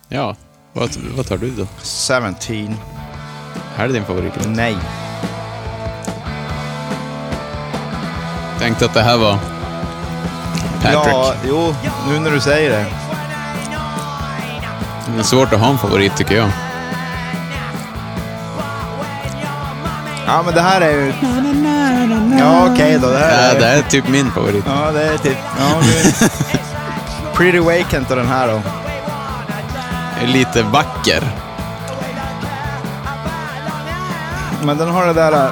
Ja. Vad, vad tar du då? 17. Här är din favoritlåt. Nej. Tänkte att det här var Patrick. Ja, jo, nu när du säger det. Det är svårt att ha en favorit tycker Äh. jag. Ja, men det här är ju... Ja, okej då. Det här Ja, är... det här är typ min favorit. Ja, det är typ... Ja, det är... Pretty Vacant och den här då. Är Lite vacker. Men den har det där... äh,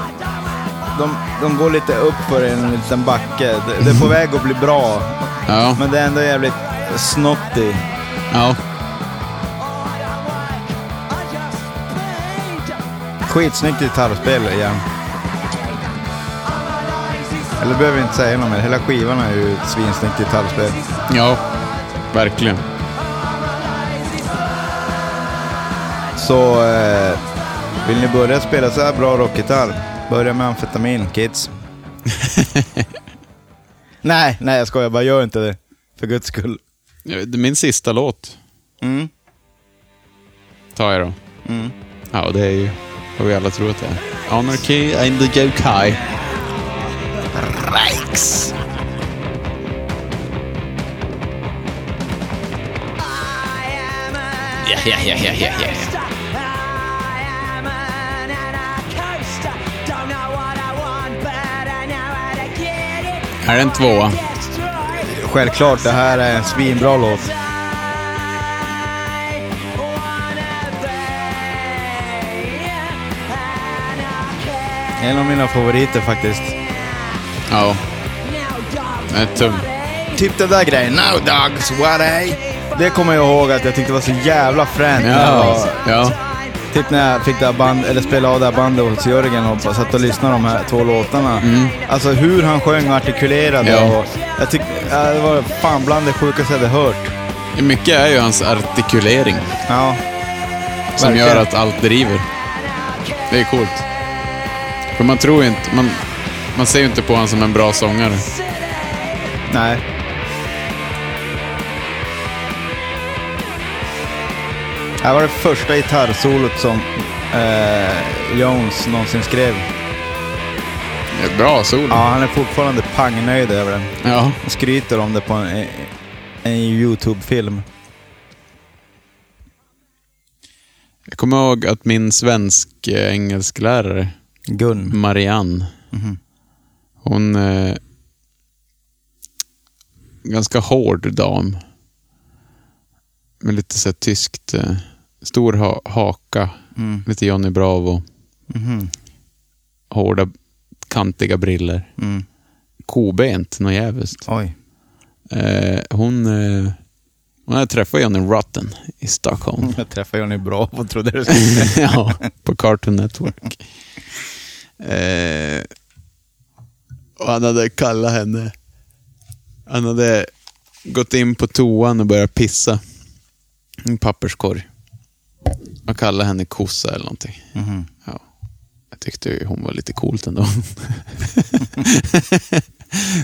De, de går lite upp för en liten backe. Det, det är på väg att bli bra, Ja. men det är ändå jävligt snottig. ja. Skitsnyggt gitarrspel igen. Eller behöver vi inte säga något mer. Hela skivan är ju ett svinsnyggt gitarrspel. Ja. Verkligen. Så eh, vill ni börja spela så här bra rockgitarr, börja med amfetamin, kids. nej, nej jag skojar bara. Gör inte det. För guds skull. Det är Min sista låt Mm. tar jag då. Ja, det är ju vad vi alla tror att det är. Anarchy and the Yokai. Reichs. Yeah, yeah, yeah, yeah, yeah, yeah. Här är en tvåa. Självklart, det här är en svinbra låt. En av mina favoriter faktiskt. Ja. Den är tung. Typ den där grejen. Now dogs, what I... Det kommer jag ihåg att jag tyckte var så jävla fränt. när jag Ja. var- ja. Typ när jag fick det här band, eller spelade av det här bandet hos Jörgen och bara satt och lyssnade de här två låtarna. Alltså hur han sjöng och artikulerade. Ja. Och jag tyckte, ja, det var fan bland det sjukaste jag hade hört. Mycket är ju hans artikulering Ja. som Verkligen. gör att allt driver. Det är coolt. För man tror ju inte... Man, man ser ju inte på honom som en bra sångare. Nej. Här var det första gitarrsolot som eh, Jones någonsin skrev. Det är Bra solo. Ja, han är fortfarande pangnöjd över den. Ja. Han skryter om det på en, en YouTube-film. Jag kommer ihåg att min eh, svensk-engelsklärare Gun. Marianne. Hon... Eh, ganska hård dam. Med lite så här tyskt... Eh, stor ha haka. Mm. Lite Johnny Bravo. Mhm. Hårda, kantiga briller. Mm. Kobent, något jävligt. Oj. Eh, hon... Eh, hon hade träffat Johnny Rotten i Stockholm. Jag träffade Johnny bra och trodde du skulle säga. ja, på Cartoon Network. Eh, och han hade kallat henne... Han hade gått in på toan och börjat pissa. I en papperskorg. Och kallat henne kossa eller någonting. Mm-hmm. Ja. Jag tyckte ju hon var lite coolt ändå.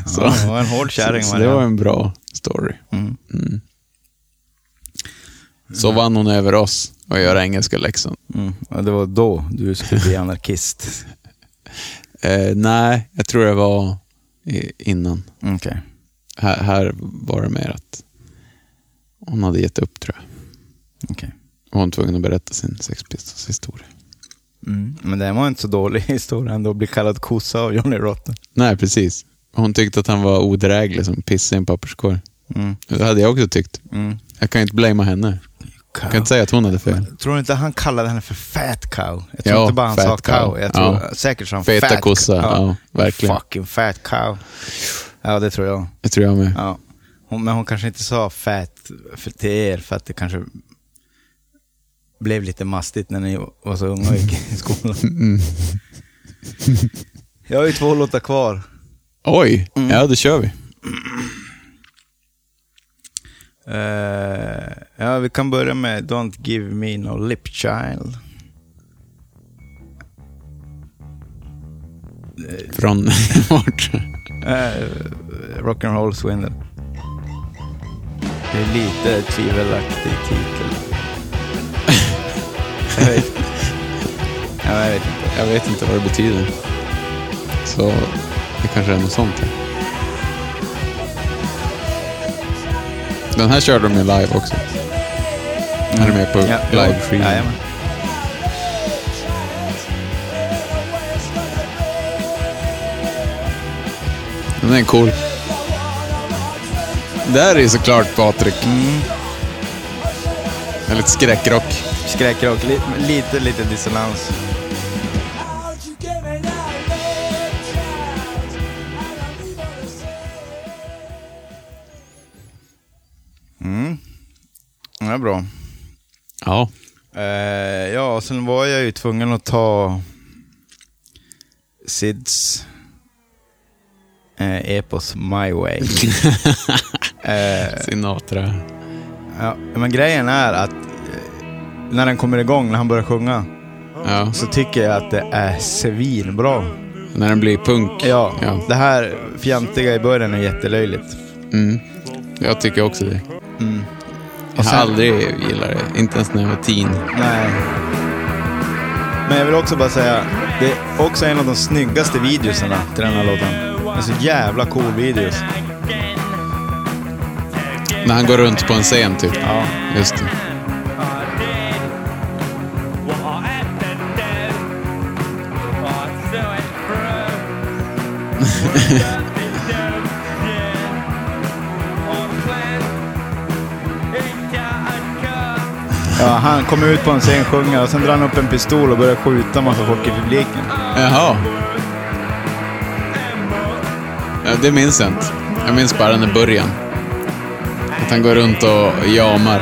så, Ja, det var en hård kärring. så, så det Marianne. var en bra story. Mm. Mm. Så vann hon över oss och göra engelska läxan. Mm. Ja, det var då du skulle bli anarkist. Eh, nej, jag tror det var i, innan. Okej. Här, här var det mer att hon hade gett upp tror jag. okej. Hon var tvungen att berätta sin Sex Pistols historia. Mm. Men det var inte så dålig historia ändå, att bli kallad kossa av Johnny Rotten. Nej, precis. Hon tyckte att han var odräglig som pissade i en papperskorg. Mm. Det hade jag också tyckt. Mm. Jag kan ju inte blamea henne. Jag kan inte säga att hon hade fel. Tror du inte han kallade henne för fat cow? Jag tror Ja, inte bara han sa fat cow. cow. Jag tror, Ja. Säkert som Feta fat kossa, ja, verkligen. Fucking fat cow. Ja, det tror jag. Det tror jag med. Ja. Hon, men hon kanske inte sa fat för, till er för att det kanske blev lite mastigt när ni var så unga och gick i skolan. Jag har ju två låtar kvar. Oj! Mm. Ja, då kör vi. Eh, ja, vi kan börja med Don't Give Me No Lip Child. Från vart? Rock'n'roll Swindle. Det är lite tvivelaktig titel. jag, vet, ja, jag vet inte. jag vet inte vad det betyder. Så det kanske är något sånt. ja. Den här körde de ju live också. Den här är med på Mm. Ja, live ja, stream. jajamän. Den är cool. Där är ju såklart Patrik. Mm. Det är Lite skräckrock. Skräckrock, li, lite, lite dissonans. Mm. Ja, bra. Ja. Eh, ja, sen var jag ju tvungen att ta Sids eh, epos My Way. Sinatra. ja, men grejen är att eh, när den kommer igång, när han börjar sjunga, Ja. så tycker jag att det är svinbra. När den blir punk. Ja, Ja. det här fjantiga i början är jättelöjligt. Mm. Jag tycker också det. Jag har sen- aldrig gillat det. Inte ens när jag var teen. Nej. Men jag vill också bara säga, det är också en av de snyggaste videosarna till den här låten. Det är så jävla cool videos. När han går runt på en scen typ. Ja. Just det. Ja, han kommer ut på en scen, sjunger och sen drar han upp en pistol och börjar skjuta massa folk i publiken. Jaha. Ja, det minns jag inte. Jag minns bara den i början. Att han går runt och jamar.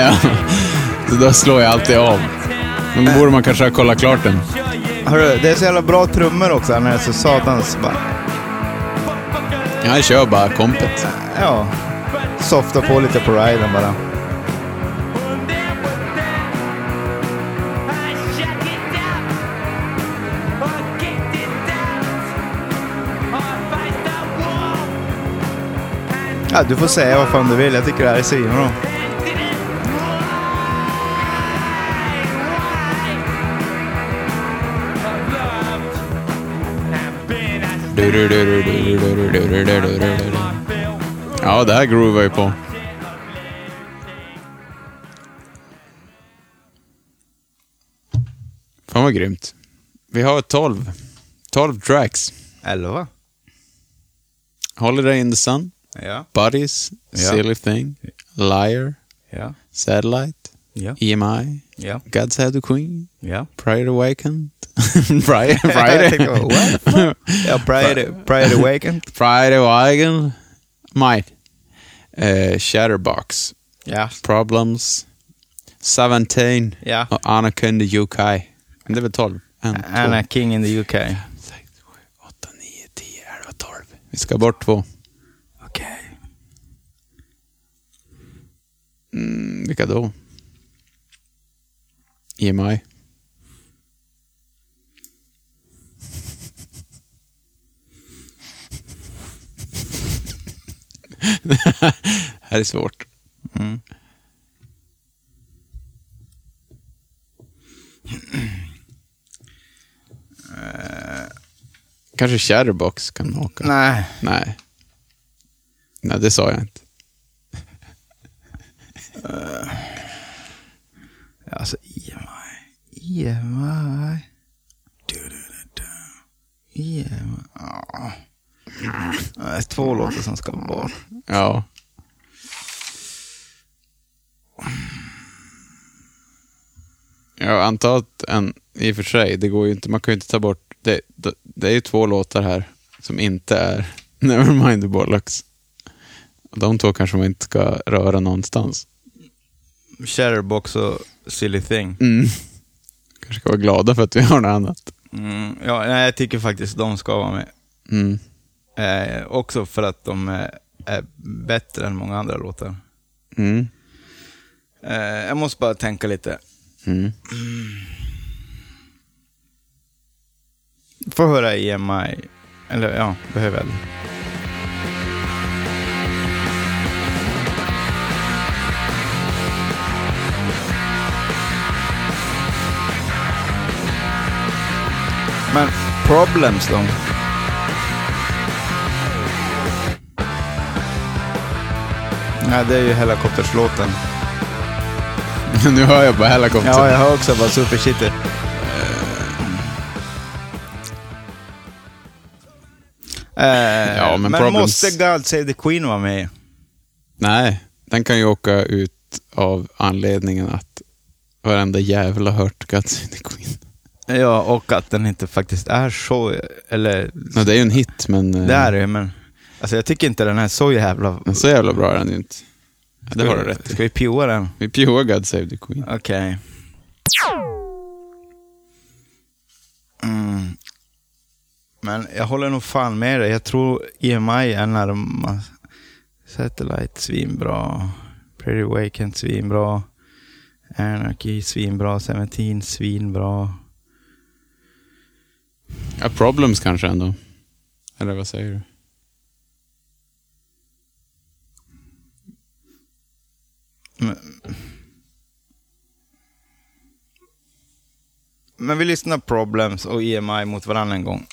ja. Så då slår jag alltid av. Men då borde man kanske ha kollat klart den. Hörru, det är så jävla bra trummor också här när det är så satans... Bara, Jag kör bara kompet. ja. Softa på lite på riden bara. Ja, du får säga vad fan du vill. Jag tycker det här är svinbra. Ja, det här groovar ju på. Fan vad grymt. Vi har 12. 12 tracks. Elva? Holiday in the Sun, Ja. Buddies, Ja. Silly Thing, Liar, Ja. Satellite, E Ja. EMI, Ja. God's Head to Queen, Ja. Pride Awakened, Pride, Jag Pride, tänkte, what? Ja, Pride, Pride Awakened. Pride Awakened, Might, eh, Shatterbox, Ja. Problems, 17 Ja. och Anakin the UK. Men det är väl 12? 1, 2, Anna King in the UK. 6, 7, 8, 9, 10, 11, 12. Vi ska bort två. Okej. Mm, vilka då? E EMI. det här är svårt. Mm. Kanske Shadowbox kan åka? Nej. Nej. Nej, det sa jag inte. Alltså EMI. E EMI. Du-du-du-du. EMI. Ja. Det är två låtar som ska vara. Ja. Jag antar att en, i och för sig, det går ju inte, man kan ju inte ta bort, det, det, det är ju två låtar här som inte är Nevermind the Bollocks. Och De två kanske man inte ska röra någonstans. Shatterbox och Silly Thing. Mm. Kanske ska vara glada för att vi har något annat. Mm, ja, nej, jag tycker faktiskt de ska vara med. Mm. Eh, också för att de eh, är bättre än många andra låtar. Mm. Eh, jag måste bara tänka lite. Mm. Få höra EMI. Eller ja, behöver jag det? Men problems då? Nej, det är ju helikopterslåten. nu hör jag bara helikopter. Ja, jag har också bara Super City. Ja, ja, men Eh, men problems- måste God Save the Queen vara med? Nej, den kan ju åka ut av anledningen att varenda jävla hört Guts in the Queen. Ja, och att den inte faktiskt är så, eller Nej, det är ju en hit, men... eh, det är det men alltså jag tycker inte den här är så jävla... Men så jävla bra är den ju inte. Ja, det har du rätt i. Ska vi pjoa den? Vi pjoar God Save the Queen. Okej. Mm. Men jag håller nog fan med dig. Jag tror EMI är närmast. Satellite svinbra. Pretty Awakened svinbra. Anarchy svinbra. 17 svinbra. Ja, Problems kanske ändå. Eller vad säger du? Men, men vi lyssnar Problems och EMI mot varandra en gång.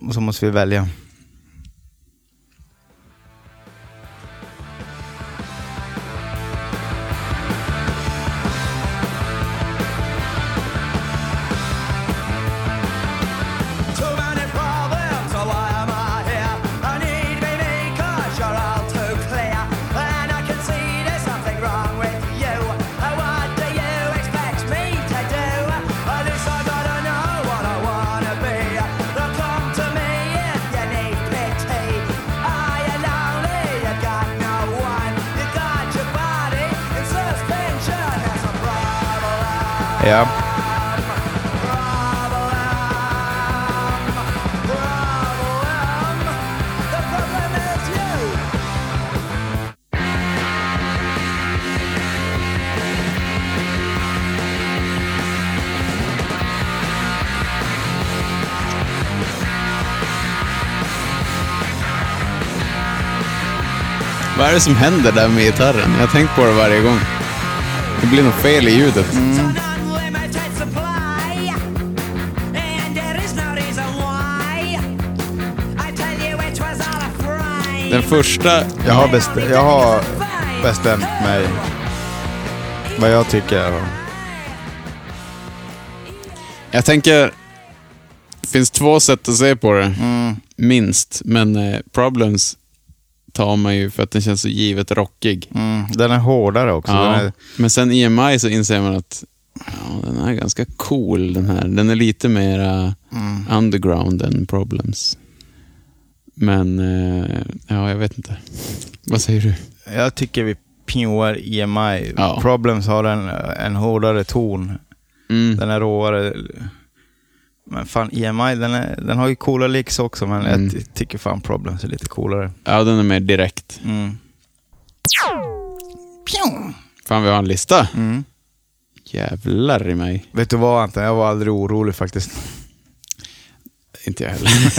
Och så måste vi välja. Too many problems, so why am I here? I need me because you're all too clear. And I can see there's something wrong with you. And what do you expect me to do? At least I gotta know what I wanna be. Now come to me if you need pity. Are you lonely? You got no one. You got your body in suspension. That's a problem. Ja. The problem is you. Vad är det som händer där med gitarren? Jag har tänkt på det varje gång. Det blir något fel i ljudet. It's an unlimited supply, and there is no reason why. I tell you it was all a frame. Den första... Jag har, bestä- jag har bestämt mig vad jag tycker. Jag tänker... Det finns två sätt att se på det. Mm, Minst. Men eh, Problems tar man ju för att den känns så givet rockig. Mm, den är hårdare också. Den Ja. är, Men sen EMI så inser man att ja, den är ganska cool den här. Den är lite mera Mm. underground än Problems. Men eh, ja, jag vet inte. Vad säger du? jag tycker vi pinoar EMI. Ja. Problems har en, en hårdare ton. Mm. Den är råare. Men fan, EMI den, är, den har ju coola licks också, men Mm. jag ty- tycker fan Problems är lite coolare. Ja, den är mer direkt. Mm. Fan, vi har en lista. Mm. Jävlar i mig. Vet du vad Anton, jag var aldrig orolig faktiskt. Inte jag heller.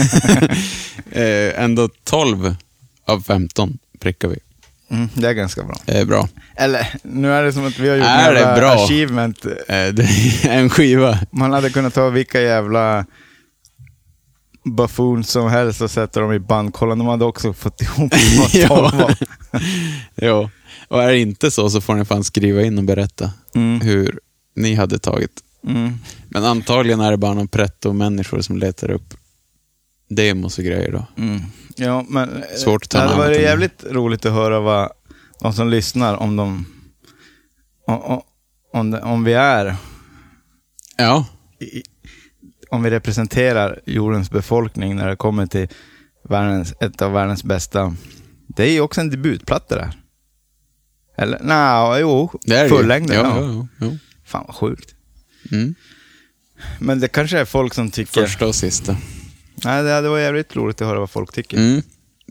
eh, ändå 12 av 15 prickar vi. Mm, det är ganska bra. Eh, bra. Eller, nu är det som att vi har gjort Är en jävla det bra? achievement. eh, Eh, det är en skiva. Man hade kunnat ta vilka jävla buffoon som helst och sätter dem i bandkollen. De hade också fått ihop Ja. vad ja. Jo, och är det inte så så får ni fan skriva in och berätta Mm. hur ni hade tagit. mm. Men antagligen är det bara någon pretto-människor som letar upp demos och grejer då. Mm. Ja, men eh, Svårt att ta det hade namnet varit om det. jävligt roligt att höra vad de som lyssnar, om de... Om, om- om, det- om vi är... Ja, i- Om vi representerar jordens befolkning när det kommer till världens, ett av världens bästa... Det är ju också en debutplatta det här. Eller? Nej, jo. det är det ju. Fullängden. Ja, Ja. ja, ja, ja. Fan vad sjukt. Mm. Men det kanske är folk som tycker... Första och sista. Nej, det hade varit jävligt roligt att höra vad folk tycker. Mm,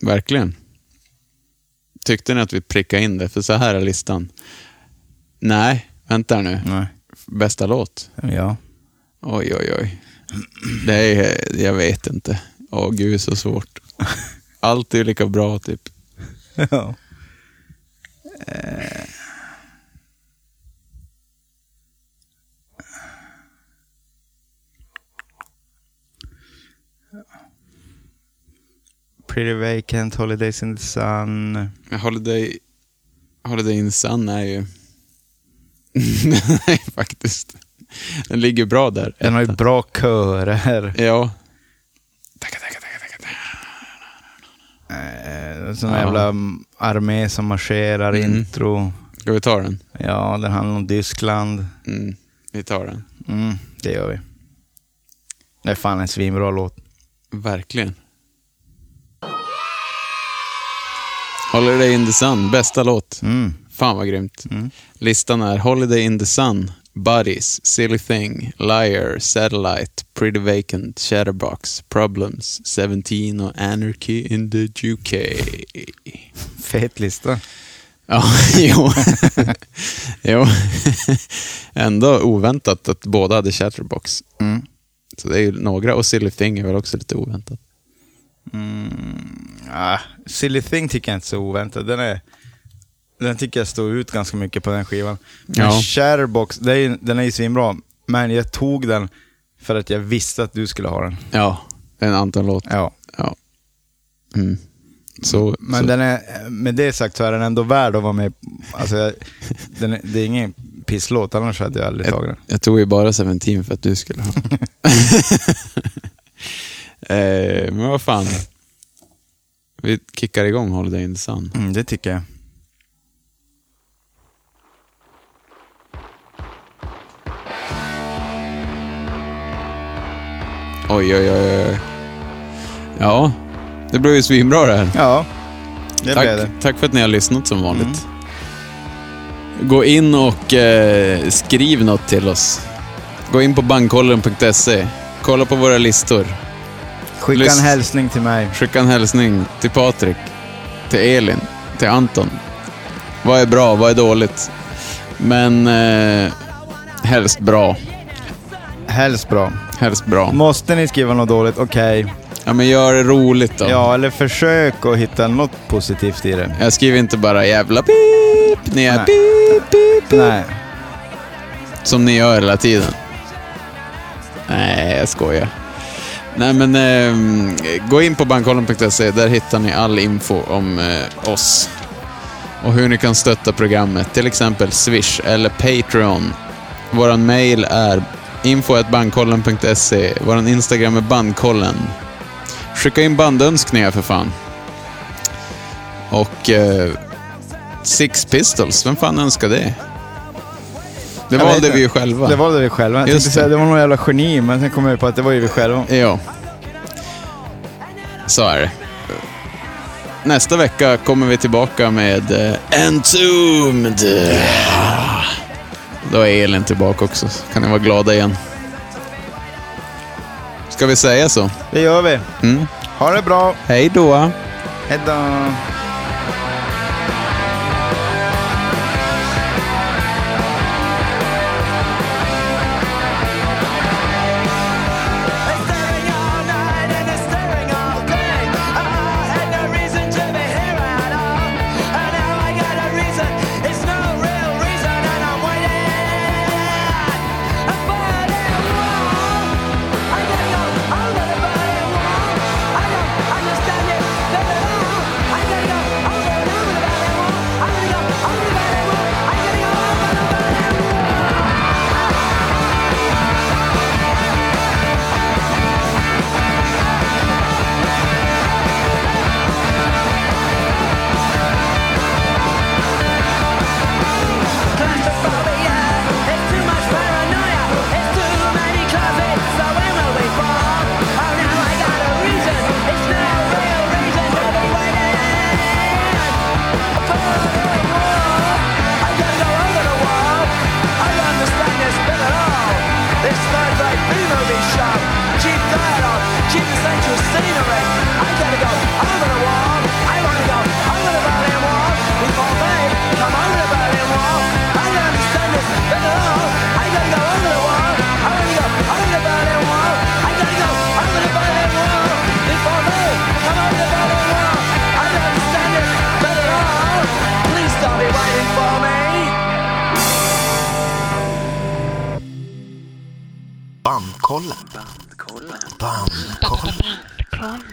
verkligen. Tyckte ni att vi prickade in det? För så här är listan. Nej, vänta nu. Nej. Bästa låt? Ja. Oj, oj, oj. Det är, jag vet inte. Åh gud, så svårt. Allt är ju lika bra typ. ja. Eh. Pretty Vacant, Holidays in the Sun. Men Holiday, Holiday in Sun är ju... Nej, faktiskt. Den ligger bra där. Den har ju bra körer. Ja. Eh, Sån Ja. jävla mm, armé som marscherar, Mm. intro. Ska vi ta den? Ja, den handlar om Tyskland. Mm, vi tar den. Mm, det gör vi. Det är fan en svinbra låt. Verkligen. Holiday in the Sun, bästa låt. Mm. Fan vad grymt. Listan är Holiday in the Sun, Buddies, Silly Thing, Liar, Satellite, Pretty Vacant, Shatterbox, Problems, 17 och Anarchy in the UK. Fet lista. Ja, jo. jo. Ändå oväntat att båda hade Shatterbox. Mm. Så det är ju några och Silly Thing är väl också lite oväntat. Ah, Silly Thing tycker jag inte är så oväntat. Den, är, den tycker jag står ut ganska mycket på den skivan. Men Ja. Sharebox, det är, ju- den är ju svinbra. Men jag tog den för att jag visste att du skulle ha den. Ja, det är en Anton-låt. Ja. Ja. Mm. Så, Men så. den är, med det sagt så är den ändå värd att vara med. Alltså, jag, den är, det är ingen pisslåt, annars hade jag aldrig tagit den. Jag tog ju bara 17 för att du skulle ha. eh, men vad fan. Vi kickar igång Holiday in the Sun. Mm, det tycker jag. Oj, oj, oj. oj. Ja, det blev ju svinbra det här. Ja, det blev Tack, det. tack för att ni har lyssnat som vanligt. Mm. Gå in och eh, skriv något till oss. Gå in på bankkollen.se. Kolla på våra listor. Skicka Lyssn- en hälsning till mig. Skicka en hälsning till Patrik, till Elin, till Anton. Vad är bra, vad är dåligt? Men eh, helst bra. Helst bra. Helst bra. Måste ni skriva något dåligt, okej. Ja, men gör det roligt då. Ja, eller försök att hitta något positivt i det. Jag skriver inte bara jävla pip, ni är Nej. pip, pip, pip. Nej. Som ni gör hela tiden. Nej, jag skojar. Nej, men eh, gå in på bankkollen.se. Där hittar ni all info om eh, oss. Och hur ni kan stötta programmet. Till exempel Swish eller Patreon. Vår mail är info.bandkollen.se. Vår Instagram är bandkollen. Skicka in bandönskningar för fan. Och eh, Six Pistols, vem fan önskar det? Det Jag vet valde inte. vi ju själva. Det valde vi själva. Jag Just tänkte säga det. det var någon jävla geni, men sen kom jag på att det var ju vi själva. Ja. Så är det. Nästa vecka kommer vi tillbaka med eh, Entombed. Då är Elin tillbaka också. så Kan ni vara glada igen. Ska vi säga så? Det gör vi. Mm. Ha det bra. Hej då! Hejdå. Under the burning wall Bandkollen. Bandkollen. Bandkollen.